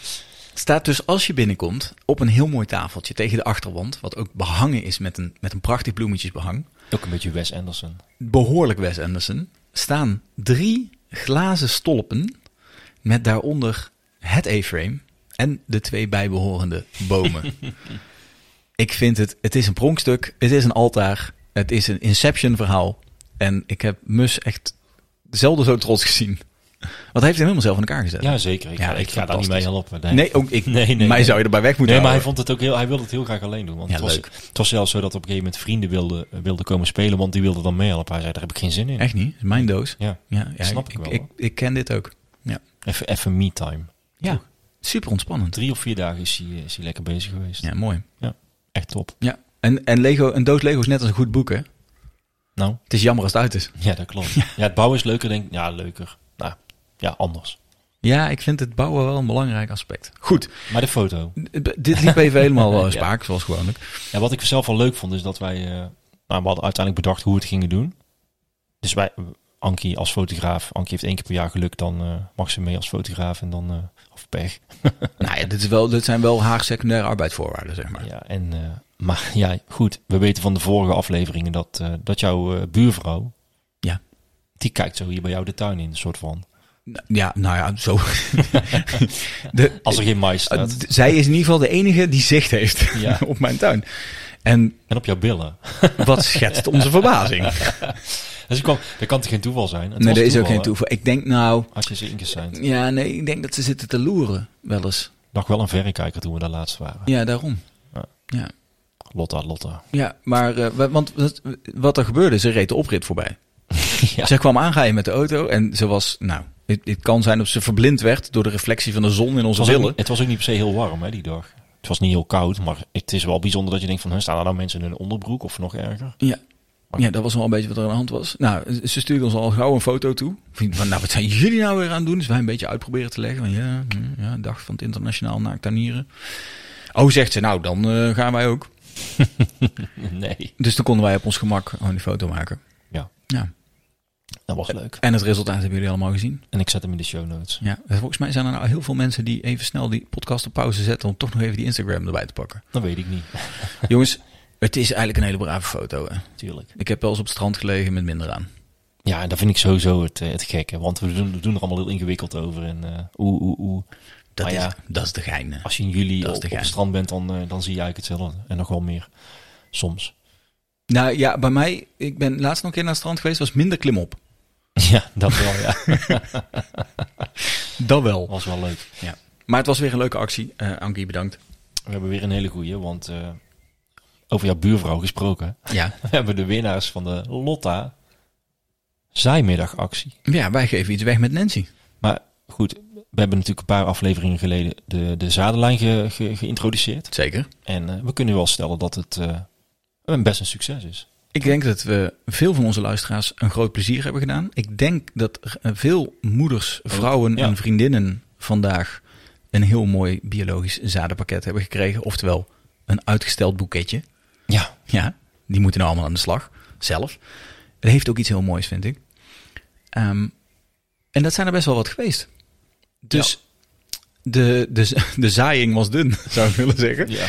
Staat dus als je binnenkomt op een heel mooi tafeltje tegen de achterwand, wat ook behangen is met een, met een prachtig bloemetjesbehang. Ook een beetje Wes Anderson. behoorlijk Wes Anderson, staan drie glazen stolpen met daaronder het A-frame en de twee bijbehorende bomen. ik vind het, het is een pronkstuk, het is een altaar, het is een Inception verhaal. En ik heb Mus echt zelden zo trots gezien. Want hij heeft hem helemaal zelf in elkaar gezet. Ja, zeker. Ik, Ja, ga, ik echt ga daar niet mee fantastisch. helpen. nee, ook ik, Nee, nee, mij nee. zou je erbij weg moeten Nee, maar hij, houden. vond het ook heel, hij wilde het heel graag alleen doen. Want Ja, het, was, leuk. het was zelfs zo dat op een gegeven moment vrienden wilden, wilden komen spelen, want die wilden dan meehelpen. Hij zei, daar heb ik geen zin in. Echt niet, het is mijn doos. Ja, Ja, ja, Snap ik wel, Ik, hoor. ik ken dit ook. Ja, even, even me-time. ja. super ontspannend. Drie of vier dagen is hij, is hij lekker bezig geweest. Ja, mooi. Echt top. Ja, en, en Lego, een doos Lego is net als een goed boek, hè? Nou, Het is jammer als het uit is. Ja, dat klopt. Ja, het bouwen is leuker, denk ik. Ja, leuker. Nou, ja, anders. Ja, ik vind het bouwen wel een belangrijk aspect. Goed, Maar de foto. d- dit liep even helemaal eh, spaak, zoals gewoonlijk. Ja, wat ik zelf wel leuk vond, is dat wij... eh, nou, we hadden uiteindelijk bedacht hoe we het gingen doen. Dus wij... Ankie als fotograaf. Ankie heeft één keer per jaar geluk. Dan eh, mag ze mee als fotograaf. En dan... eh, of pech. Nou ja, dit, is wel, dit zijn wel haar secundaire arbeidsvoorwaarden, zeg maar. Ja, en... eh, maar ja, goed. We weten van de vorige afleveringen dat, eh, dat jouw eh, buurvrouw... Ja. Die kijkt zo hier bij jou de tuin in, een soort van. N- Ja, nou ja, zo. De- Als er geen mais eh, staat. d- zij is in ieder geval de enige die zicht heeft Ja. op mijn tuin. En En op jouw billen. wat schetst onze verbazing? Dus ik kwam, dat kan toch geen toeval zijn? Het Nee, was er is ook toeval, geen hè? toeval. Ik denk nou, Als je ze ingesigned. ja, nee, ik denk dat ze zitten te loeren, wel eens. Nog wel een verrekijker toen we daar laatst waren. Ja, daarom. Ja. Ja. Lotta, Lotta. Ja, maar eh, wa- want wat- wat er gebeurde, ze reed de oprit voorbij. Ja. Ze kwam aanrijden met de auto en ze was, nou, het, het kan zijn dat ze verblind werd door de reflectie van de zon in onze Het was, ook, billen. niet- het was ook niet per se heel warm hè, die dag. Het was niet heel koud, maar het is wel bijzonder dat je denkt van... Huh, staan er nou mensen in hun onderbroek of nog erger? Ja. ja, dat was wel een beetje wat er aan de hand was. Nou, ze stuurde ons al gauw een foto toe. Van, nou, wat zijn jullie nou weer aan het doen? Dus wij een beetje uitproberen te leggen. Van, ja, hm, ja, dag van het internationaal naaktanieren. Oh, zegt ze, nou, dan eh, gaan wij ook. Nee. Dus toen konden wij op ons gemak gewoon die foto maken. Ja, Ja. dat was leuk. En het resultaat hebben jullie allemaal gezien. En ik zet hem in de show notes. Ja, volgens mij zijn er nou heel veel mensen die even snel die podcast op pauze zetten om toch nog even die Instagram erbij te pakken. Dat weet ik niet. Jongens, Het is eigenlijk een hele brave foto. Hè. natuurlijk. Ik heb wel eens op het strand gelegen met minder aan. Ja, en dat vind ik sowieso het, eh, het gekke. Want we doen, we doen er allemaal heel ingewikkeld over. En eh oeh, oeh, oeh. Dat, Maar is, ja. dat is de gein. hè. Als je in juli Dat op, is de op het gein. strand bent, dan, eh, dan zie je eigenlijk hetzelfde. En nog wel meer. Soms. Nou ja, bij mij, ik ben laatst nog een keer naar het strand geweest, was minder klimop. Ja, dat wel, ja. Dat wel. was wel leuk. Ja. Maar het was weer een leuke actie. Eh Ankie, bedankt. We hebben weer een hele goeie, want eh, over jouw buurvrouw gesproken. Ja. We hebben de winnaars van de Lotta Zijmiddagactie. ja, wij geven iets weg met Nancy. Maar goed, we hebben natuurlijk een paar afleveringen geleden de, de zadenlijn ge- ge- geïntroduceerd. Zeker. En eh, we kunnen wel stellen dat het eh, een best een succes is. Ik denk dat we veel van onze luisteraars een groot plezier hebben gedaan. Ik denk dat er, eh, veel moeders, vrouwen Oh, ja. en vriendinnen vandaag een heel mooi biologisch zadenpakket hebben gekregen. Oftewel een uitgesteld boeketje. Ja, Ja, die moeten nou allemaal aan de slag. Zelf. Het heeft ook iets heel moois, vind ik. Ehm, en dat zijn er best wel wat geweest. Dus de, de, z- de zaaiing was dun, zou ik willen zeggen. ja.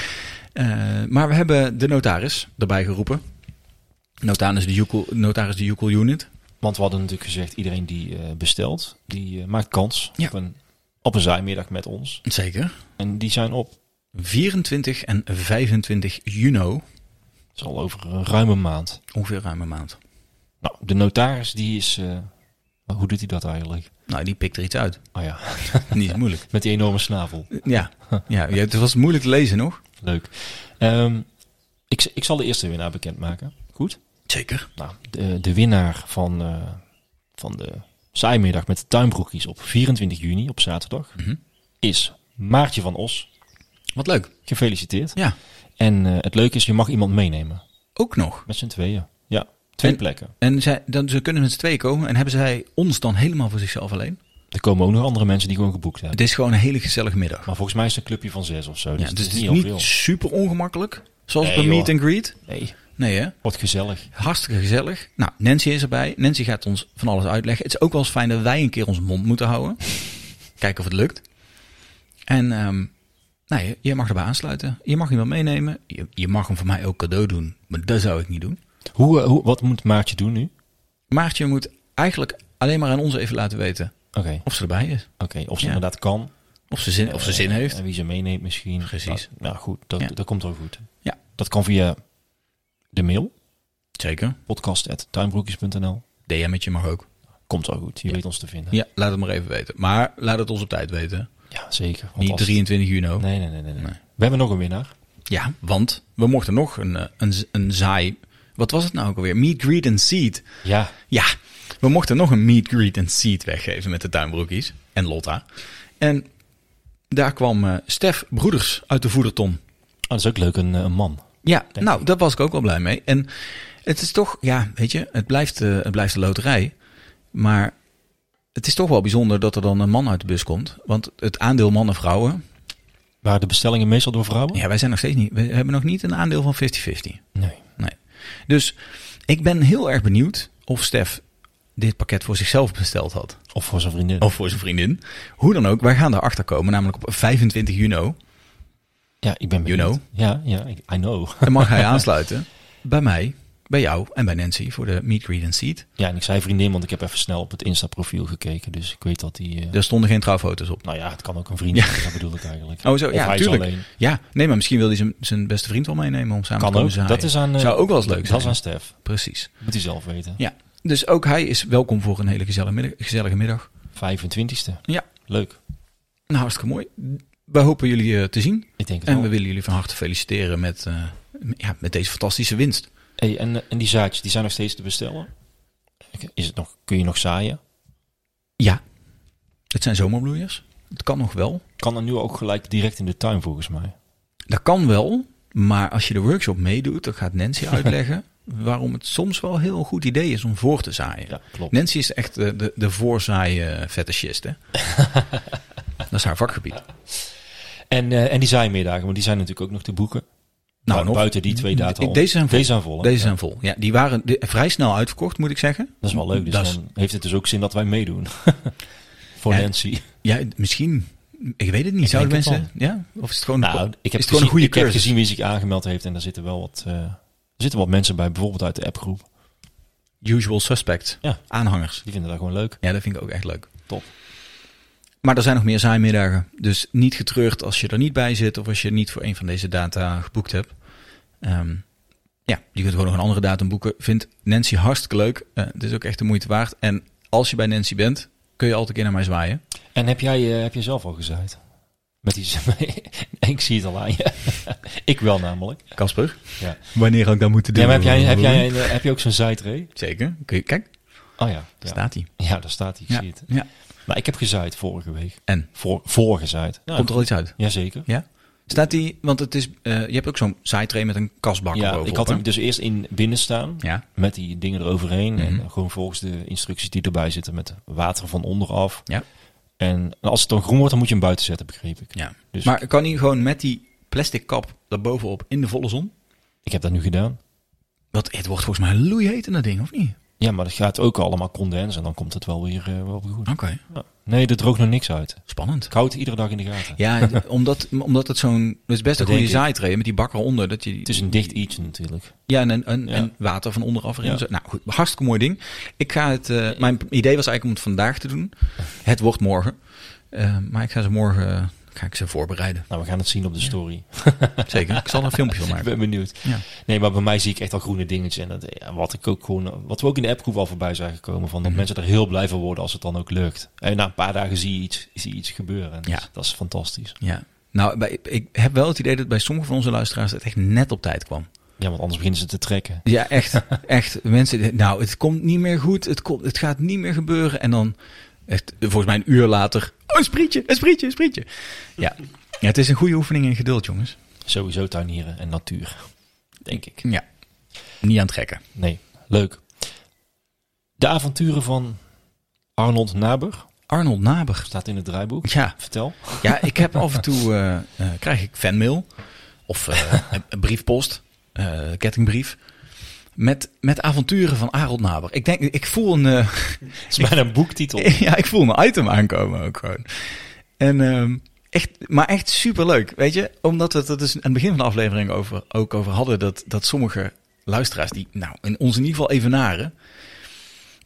Eh, maar we hebben de notaris erbij geroepen. Notaris de Joekel, notaris de Joekel Unit. want we hadden natuurlijk gezegd, iedereen die eh, bestelt, die eh, maakt kans Ja. op een, op een zaaimiddag met ons. Zeker. En die zijn op. 24 en 25 juni, Dat is al over een ruime maand. ongeveer ruim een maand. Nou, de notaris die is... eh, maar hoe doet hij dat eigenlijk? Nou, die pikt er iets uit. Oh ja, Niet moeilijk. met die enorme snavel. Ja, ja, het was moeilijk te lezen nog. Leuk. Ehm, ik, ik zal de eerste winnaar bekendmaken. Goed? Zeker. Nou, de, de winnaar van, eh, van de zaaimiddag met de tuinbroekjes op 24 juni, op zaterdag, is Maartje van Os. Wat leuk. Gefeliciteerd. Ja, En eh, het leuke is, je mag iemand meenemen. ook nog. Met z'n tweeën. Ja, twee En- plekken. En zij, dan, ze kunnen met z'n tweeën komen. En hebben zij ons dan helemaal voor zichzelf alleen? Er komen ook nog andere mensen die gewoon geboekt hebben. Het is gewoon een hele gezellige middag. Maar volgens mij is het een clubje van zes of zo. Ja, dus dus het is niet niet heel veel. super ongemakkelijk. Zoals Nee, op een meet joh. and greet. Nee, Nee hè? wordt gezellig. Hartstikke gezellig. Nou, Nancy is erbij. Nancy gaat ons van alles uitleggen. Het is ook wel eens fijn dat wij een keer ons mond moeten houden. Kijken of het lukt. En ehm nou, je, je mag erbij aansluiten. Je mag iemand meenemen. Je, je mag hem voor mij ook cadeau doen. Maar dat zou ik niet doen. Hoe, eh, hoe, wat moet Maartje doen nu? Maartje moet eigenlijk alleen maar aan ons even laten weten Oké, of ze erbij is. oké, of ze Ja. inderdaad kan. Of ze zin, of ze zin Eh, heeft. En wie ze meeneemt misschien. Precies. Nou, nou goed, dat, Ja. dat komt wel goed. Ja. Dat kan via de mail, Zeker. podcast.tuinbroekjes.nl. DM'tje mag ook. Komt wel goed, je weet ons te vinden. Ja, laat het maar even weten. Maar laat het ons op tijd weten. Ja, zeker. want Niet nou. als- 23 juni. Nee, nee, nee, nee, nee. Nee. We hebben nog een winnaar. Ja, want we mochten nog een, eh, een, z- een zaai... Wat was het nou ook alweer? Meet, greet and seed. Ja, Ja, we mochten nog een meet, greet and seed weggeven met de tuinbroekies. En Lotta. En daar kwam eh, Stef Broeders uit de voederton. Ah, dat is ook leuk, een, eh, een man. Ja, nou, daar was ik ook wel blij mee. En het is toch, ja, weet je, het blijft, eh, het blijft een loterij. Maar het is toch wel bijzonder dat er dan een man uit de bus komt. Want het aandeel mannen-vrouwen, Waren de bestellingen meestal door vrouwen? ja, wij zijn nog steeds niet, we hebben nog niet een aandeel van 50-50. Nee. Nee. Dus ik ben heel erg benieuwd of Stef dit pakket voor zichzelf besteld had. Of voor zijn vriendin. Of voor zijn vriendin. Hoe dan ook, wij gaan daarachter komen, namelijk op 25 juni. ja, ik ben You benieuwd. Ja, ja, ik- I know. Dan mag hij aansluiten bij mij, bij jou en bij Nancy voor de Meet, Greet and Seed. ja, en ik zei vriendin, want ik heb even snel op het Insta-profiel gekeken. Dus ik weet dat die... eh, Er stonden geen trouwfoto's op. Nou ja, het kan ook een vriendin, dat bedoel ik eigenlijk. Oh, zo, Of ja, hij is tuurlijk. alleen. Ja, nee, maar misschien wil hij zijn, zijn beste vriend wel meenemen om samen Kan te komen ook. zaaien. Dat is aan... eh, Zou ook wel eens leuk Dat zijn. is aan Stef. Precies. Moet hij zelf weten. Ja, dus ook hij is welkom voor een hele gezellige middag. Gezellige middag. 25e. Ja, Leuk. nou hartstikke mooi. We hopen jullie eh, te zien. Ik denk het En wel. we willen jullie van harte feliciteren met, eh, m- ja, met deze fantastische winst. Hey, en, en die zaadjes, die zijn nog steeds te bestellen? Oké, Is het nog, kun je nog zaaien? Ja, het zijn zomerbloeiers. Het kan nog wel. Kan dat nu ook gelijk direct in de tuin volgens mij? Dat kan wel, maar als je de workshop meedoet, dan gaat Nancy uitleggen waarom het soms wel een heel goed idee is om voor te zaaien. Ja, klopt. Nancy is echt de, de, de voorzaai-fetishist, hè? dat is haar vakgebied. Nou, En, eh, en die zaaimiddagen, want die zijn natuurlijk ook nog te boeken. Nou, Bu- nog. Buiten die twee data om. Deze zijn vol. Deze zijn vol, hè? Deze zijn vol. Ja, die waren de- vrij snel uitverkocht, moet ik zeggen. Dat is wel leuk. Dus Dat is- dan heeft het dus ook zin dat wij meedoen. Voor Ja. Nancy. Ja, misschien. Ik weet het niet. Zouden denk het mensen... Ja? Of is het gewoon, Nou, een, ik heb, is het gewoon een gezien, goede ik heb cursus? gezien wie zich aangemeld heeft en daar zitten wel wat, eh, zitten wat mensen bij, bijvoorbeeld uit de appgroep. Usual suspect. Ja. Aanhangers. Die vinden dat gewoon leuk. Ja, dat vind ik ook echt leuk. Top. Maar er zijn nog meer zaaimiddagen. Dus niet getreurd als je er niet bij zit of als je niet voor een van deze data geboekt hebt. Ehm, ja, je kunt gewoon nog een andere datum boeken. Vindt Nancy hartstikke leuk. Eh, het is ook echt de moeite waard. En als je bij Nancy bent, kun je altijd een keer naar mij zwaaien. En heb jij eh, heb je zelf al gezaaid? Met die ik zie het al aan je. ik wel namelijk. Casper? Ja. Wanneer ga ik dat moeten Ja, maar heb, jij, heb, jij, een, eh, heb je ook zo'n zijtree? Zeker. Kun je, kijk, Oh ja. daar Ja, staat hij. ja daar staat hij. Ik Ja. zie het. ja. Maar ik heb gezaaid vorige week. En? Voor, voorgezaaid. Nou, Komt er al iets uit? Jazeker. Ja. Staat die, want het is, eh, je hebt ook zo'n side met een kasbak Ja, erbovenop, ik had hè? hem dus eerst in binnen staan. Ja, Met die dingen eroverheen. Mhm. En gewoon volgens de instructies die erbij zitten. Met water van onderaf. Ja. En als het dan groen wordt, dan moet je hem buiten zetten, begreep ik. ja. Dus maar kan hij gewoon met die plastic kap daarbovenop in de volle zon? Ik heb dat nu gedaan. Want het wordt volgens mij loeiheet in dat ding, of niet? Ja, maar dat gaat ook allemaal condens. En dan komt het wel weer eh, wel weer goed. Oké, Ja. Nee, er droogt nog niks uit. spannend. Koud iedere dag in de gaten. Ja, d- omdat, omdat het zo'n... Dat is best een denk goede ik. zaaitree met die bak eronder. Dat je, Het is een dicht iets natuurlijk. Ja, en, en, en, Ja. en water van onderaf erin. Ja. Zo- Nou goed, hartstikke mooi ding. Ik ga het, eh, mijn idee was eigenlijk om het vandaag te doen. Het wordt morgen. Eh, maar ik ga ze morgen eh, ga ik ze voorbereiden. Nou, we gaan het zien op de story. Zeker. Ik zal er een filmpje van Ik maken. ben benieuwd. Ja. Nee, maar bij mij zie ik echt al groene dingetjes. En dat, eh, ja, wat, ik ook gewoon, wat we ook in de appgroep al voorbij zijn gekomen. Van dat Mhm. mensen er heel blij van worden als het dan ook lukt. En na een paar dagen zie je iets, zie je iets gebeuren. En dat Ja. is- dat is fantastisch. Ja. Nou, bij, ik heb wel het idee dat bij sommige van onze luisteraars het echt net op tijd kwam. Ja, want anders beginnen ze te trekken. Ja, echt. echt. Mensen, die- nou, het komt niet meer goed. Het, komt, het gaat niet meer gebeuren. En dan, echt, volgens mij een uur later, oh, een sprietje, een sprietje, een sprietje. Ja. ja, het is een goede oefening in geduld, jongens. Sowieso tuinieren en natuur. Denk ik. Ja. Niet aan het trekken. Nee, leuk. De avonturen van Arnold Naber Arnold Naber. staat in het draaiboek. Ja, Vertel. ja ik heb af en toe, eh, eh, krijg ik fanmail of eh, een, een briefpost, eh, kettingbrief. Met, met avonturen van Arnold Naber. Ik denk, ik voel een, eh, Het is bijna een boektitel. Ja, ik voel een item aankomen ook gewoon. En, ehm, echt, maar echt superleuk, weet je. Omdat we het er dus aan het begin van de aflevering over, ook over hadden... Dat, dat sommige luisteraars die nou, in ons in ieder geval evenaren...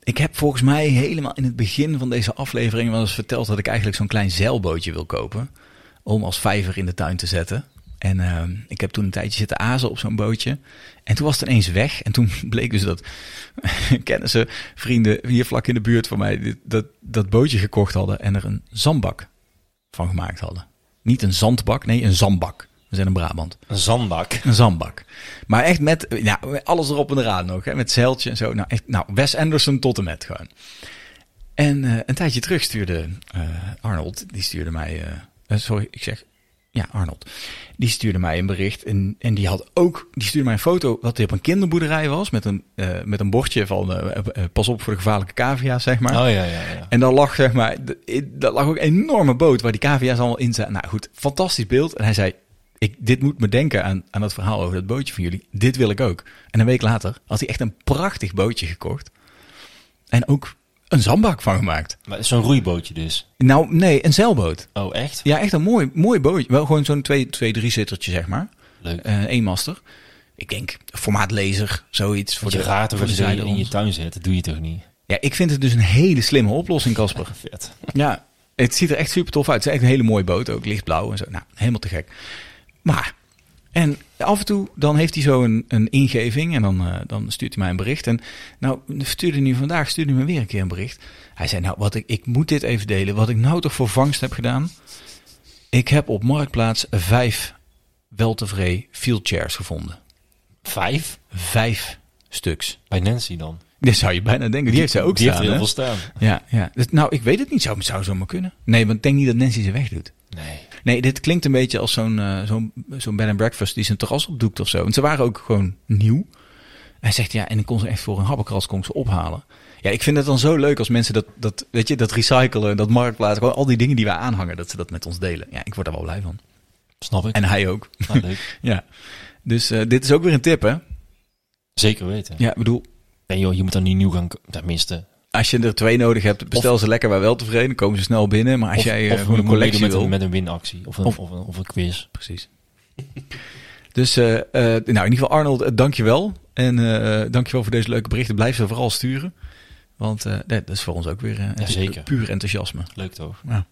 Ik heb volgens mij helemaal in het begin van deze aflevering wel eens verteld... dat ik eigenlijk zo'n klein zeilbootje wil kopen... om als vijver in de tuin te zetten... En ehm, ik heb toen een tijdje zitten azen op zo'n bootje. En toen was het ineens weg. En toen bleek dus dat kennissen, vrienden hier vlak in de buurt van mij dit- dat, dat bootje gekocht hadden en er een zandbak van gemaakt hadden. Niet een zandbak, nee, een zandbak. We zijn in Brabant. Een zandbak. Een zandbak. Maar echt met eh, nou, met alles erop en eraan nog. Hè? Met zeiltje en zo. Nou, echt, nou, Wes Anderson tot en met gewoon. En eh, een tijdje terug stuurde eh, Arnold, die stuurde mij... eh, eh, sorry, ik zeg... Ja, Arnold. Die stuurde mij een bericht en, en die had ook... Die stuurde mij een foto dat hij op een kinderboerderij was... met een, eh, met een bordje van eh, eh, pas op voor de gevaarlijke cavia's, zeg maar. Oh ja, ja, ja. En daar lag, zeg maar, d- i- daar lag ook een enorme boot waar die cavia's allemaal in zaten. Nou goed, fantastisch beeld. En hij zei, ik, dit moet me denken aan, aan dat verhaal over dat bootje van jullie. Dit wil ik ook. En een week later had hij echt een prachtig bootje gekocht. En ook een zandbak van gemaakt. Maar het is zo'n roeibootje dus. Nou, nee, een zeilboot. Oh, echt? Ja, echt een mooi, mooi bootje. Wel gewoon zo'n twee, twee, drie zittertje, zeg maar. Leuk. Eh eenmaster. Ik denk, formaat laser, zoiets. Voor Voor je de, gaat voor er de ze in zijderonde. je tuin zetten, doe je toch niet? Ja, ik vind het dus een hele slimme oplossing, Casper. Vet. Ja, het ziet er echt super tof uit. Het is echt een hele mooie boot ook, lichtblauw en zo. Nou, helemaal te gek. Maar, en af en toe dan heeft hij zo een, een ingeving en dan, eh, dan stuurt hij mij een bericht. En nou, stuurde hij nu vandaag, stuurde hij me weer een keer een bericht. Hij zei, nou, wat ik, ik moet dit even delen. Wat ik nou toch voor vangst heb gedaan. Ik heb op Marktplaats vijf weltevree fieldchairs gevonden. Vijf? Vijf stuks. Bij Nancy dan. Dat zou je bijna denken. Die heeft zij ook Die staan, heeft er hè? heel veel staan. Ja, ja. Dus, nou, ik weet het niet. Zou, zou zomaar kunnen. Nee, want ik denk niet dat Nancy ze wegdoet. Nee. Nee, dit klinkt een beetje als zo'n eh, zo'n zo'n bed and breakfast die zijn terras opdoekt of zo. Want ze waren ook gewoon nieuw. Hij zegt ja, en ik kon ze echt voor een habbekras kon ik ze ophalen. Ja, ik vind het dan zo leuk als mensen dat, dat weet je, dat recyclen, dat marktplaatsen, gewoon al die dingen die wij aanhangen, dat ze dat met ons delen. Ja, ik word daar wel blij van. Snap ik. En hij ook. Nou, leuk. Ja. Dus eh, dit is ook weer een tip, hè? Zeker weten. Ja, ik bedoel, Nee joh, je moet dan niet nieuw gaan... ko- Tenminste. als je er twee nodig hebt, bestel ze lekker bij wel tevreden, dan komen ze snel binnen. Maar als Of- jij eh, of gewoon een moet meedoen collectie met wil, een, met een winactie. Of een, Of- of, een, of een quiz. precies. Dus eh, eh, nou, in ieder geval Arnold, eh, dankjewel. En eh dankjewel voor deze leuke berichten. Blijf ze vooral sturen. Want eh, nee, dat is voor ons ook weer eh, enthousi- zeker. puur enthousiasme. Leuk toch? Ja.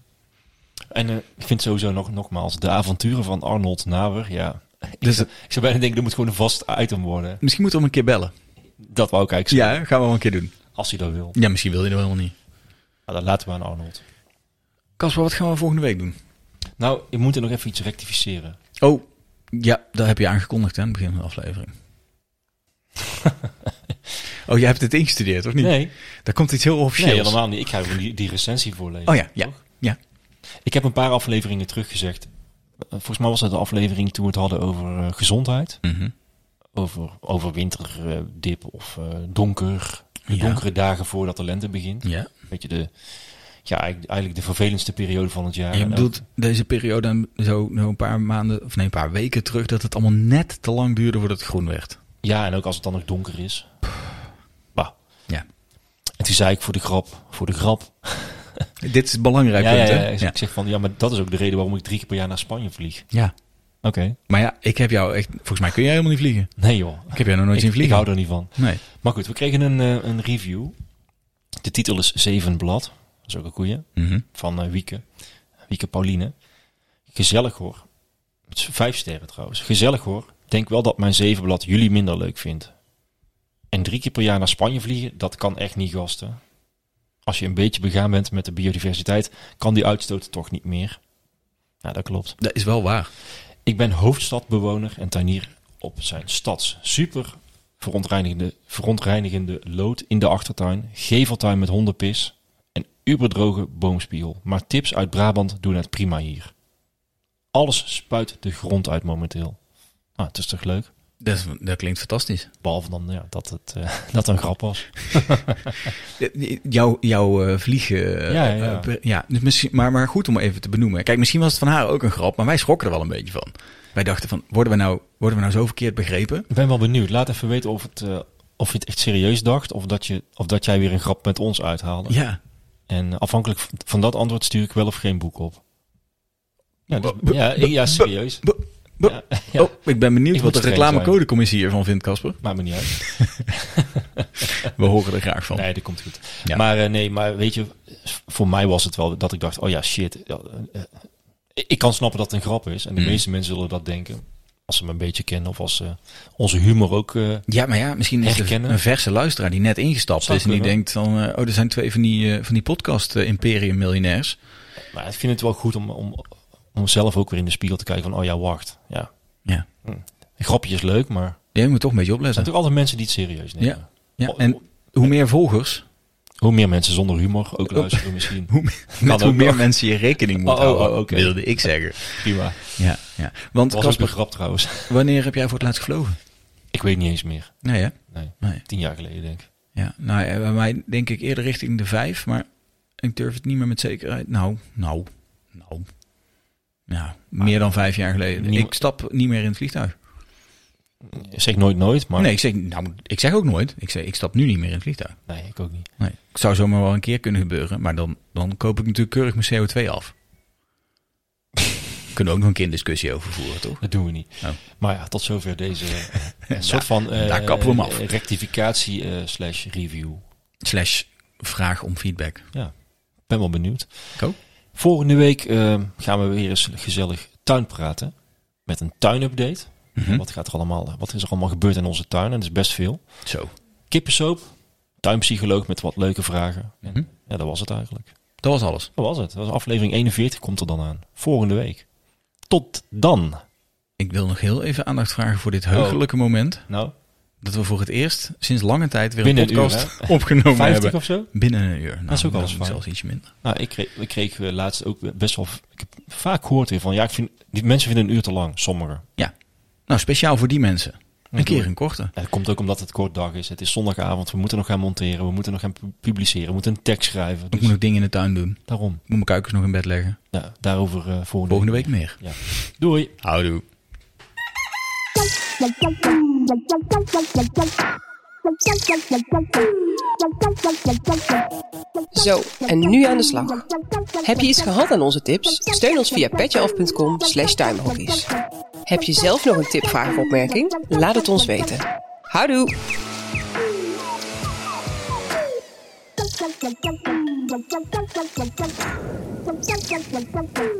En eh, ik vind sowieso nog, nogmaals, de avonturen van Arnold Nawer, ja. ik, Dus zou, ik zou bijna denken, dat moet gewoon een vast item worden. Misschien moeten we hem een keer bellen. Dat wou ik eigenlijk Ja, hè? gaan we wel een keer doen. zeggen, als hij dat wil. Ja, misschien wil je dat helemaal niet. Maar dat laten we aan Arnold. Kasper, wat gaan we volgende week doen? Nou, ik moet er nog even iets rectificeren. Oh, ja, dat heb je aangekondigd hè, aan het begin van de aflevering. oh, jij hebt het ingestudeerd, of niet? Nee, Daar komt iets heel nee officieels. helemaal niet. Ik ga gewoon die, die recensie voorlezen. oh ja, ja, toch? ja. Ik heb een paar afleveringen teruggezegd. Eh, Volgens mij was dat de aflevering toen we het hadden over eh, gezondheid. Mhm. Over, over winterdip of eh, donker. De Ja. donkere dagen voordat de lente begint. ja. Weet je, de, ja, eigenlijk eigenlijk de vervelendste periode van het jaar. En je En bedoelt ook- deze periode aan- zo, zo een paar maanden, of nee, een paar weken terug, dat het allemaal net te lang duurde voordat het groen werd. ja, en ook als het dan nog donker is. Bah. Ja. En toen zei ik voor de grap, voor de grap. Dit is een belangrijk Ja, ja, punt, ja, hè? ik Ja. zeg van, ja, maar dat is ook de reden waarom ik drie keer per jaar naar Spanje vlieg. Ja. Oké. Maar ja, ik heb jou echt, volgens mij kun jij helemaal niet vliegen. Nee joh. Ik heb jou nog nooit Ik, zien ik vliegen. hou er niet van. Nee. Maar goed, we kregen een, eh, een review. De titel is Zeven Blad. Dat is ook een goeie. Mhm. Van eh, Wieke. Wieke Pauline. Gezellig hoor. Het is vijf sterren trouwens. Gezellig hoor. Denk wel dat mijn zevenblad jullie minder leuk vindt. En drie keer per jaar naar Spanje vliegen, dat kan echt niet gasten. Als je een beetje begaan bent met de biodiversiteit, kan die uitstoot toch niet meer. Ja, dat klopt. Dat is wel waar. Ik ben hoofdstadbewoner en tuinier op zijn stads. Super verontreinigende, verontreinigende lood in de achtertuin, geveltuin met hondenpis en uberdroge boomspiegel. Maar tips uit Brabant doen het prima hier. Alles spuit de grond uit momenteel. Nou, het is toch leuk? Dat, is- dat klinkt fantastisch. Behalve dan ja, dat het eh, dat een grap was. Eh, Jouw, jouw eh, vliegen. eh, Ja, ja, ja. eh, per- ja. Dus misschien, maar, maar goed om even te benoemen. Kijk, misschien was het van haar ook een grap, maar wij schrokken er wel een beetje van. Wij dachten van, worden we nou, worden we nou zo verkeerd begrepen? Ik ben wel benieuwd. Laat even weten of, het, eh, of je het echt serieus dacht of dat, je, of dat jij weer een grap met ons uithaalde. Ja. En afhankelijk v- van dat antwoord stuur ik wel of geen boek op. Ja, dus- B- ja, b- ja serieus. b- b- Ja, ja, Oh, ik ben benieuwd Ik moet wat de streng reclamecodecommissie hiervan vindt, Casper. Maakt me niet uit. We horen er graag van. Nee, dat komt goed. Oh. Ja. Maar eh, nee, maar weet je, voor mij was het wel dat ik dacht, oh ja, shit. ja, eh, ik kan snappen dat het een grap is. En de Mm. meeste mensen zullen dat denken. Als ze me een beetje kennen of als ze onze humor ook... eh, Ja, maar ja, misschien is er Herkennen. een verse luisteraar die net ingestapt Zou is en die kunnen. denkt dan, eh, oh, er zijn twee van die, eh, van die podcast eh, Imperium miljonairs. maar ik vind het wel goed om, om, om zelf ook weer in de spiegel te kijken van, oh ja, wacht. Ja, Ja, een grapje is leuk, maar er jij moet toch een beetje opletten. zijn toch altijd mensen die het serieus nemen. Ja. Ja, oh, en hoe meer volgers, Hoe meer mensen zonder humor ook luisteren misschien. hoe, meer- met ook hoe meer nog. mensen je rekening moet Oh, oh, houden, oh, oké. wilde ik zeggen. Prima. Ja, ja. Want Dat was ook een Casper, grap trouwens. wanneer heb jij voor het laatst gevlogen? Ik weet niet eens meer. Nee, hè? Nee, Nee. tien jaar geleden denk ik. Ja, nou, ja, bij mij denk ik eerder richting de vijf, maar ik durf het niet meer met zekerheid. Nou, nou, nou. Nou, meer dan vijf jaar geleden. Niemand- Ik stap niet meer in het vliegtuig. Zeg nooit nooit, maar Nee, ik zeg, nou, ik zeg ook nooit. Ik, zeg, ik stap nu niet meer in het vliegtuig. nee, ik ook niet. Nee, het zou zomaar wel een keer kunnen gebeuren. Maar dan, dan koop ik natuurlijk keurig mijn CO2 af. Kunnen we ook nog een keer een discussie over voeren, toch? Dat doen we niet. Oh. Maar ja, tot zover deze eh, een soort van eh, daar kappen we hem af. rectificatie eh, slash review. Slash vraag om feedback. Ja, ik ben wel benieuwd. Ik ook. Volgende week eh, gaan we weer eens gezellig tuin praten. Met een tuinupdate. Mhm. Wat, gaat er allemaal, wat is er allemaal gebeurd in onze tuin? En dat is best veel. Zo, Kippensoop, tuinpsycholoog met wat leuke vragen. En, Mhm. Ja, dat was het eigenlijk. dat was alles. Dat was het. Dat was aflevering 41 komt er dan aan. Volgende week. Tot dan. Ik wil nog heel even aandacht vragen voor dit heugelijke moment. Nou, Dat we voor het eerst sinds lange tijd weer Binnen een een uur, podcast opgenomen 50 hebben. of zo? Binnen een uur. Nou, is ook al eens nou, fijn. Zelfs ietsje minder. Nou, ik kreeg, ik kreeg eh, laatst ook best wel... Ik heb vaak gehoord hiervan. Ja, ik vind, die mensen vinden een uur te lang, sommigen. Ja. Nou, speciaal voor die mensen. Een doe keer ik. een korte. Ja, dat komt ook omdat het kort dag is. Het is zondagavond. We moeten nog gaan monteren. We moeten nog gaan pu- publiceren. We moeten een tekst schrijven. Ik Dus moet nog dingen in de tuin doen. Ik daarom. moet mijn kuikens nog in bed leggen. Ja, daarover eh, volgende, Volgende week meer. Ja. Doei. Houdoe. Zo, en nu aan de slag. Heb je iets gehad aan onze tips? Steun ons via petjeaf.com slash tuinbroekies. Heb je zelf nog een tip, vraag of opmerking? Laat het ons weten. Houdoe! Thank you.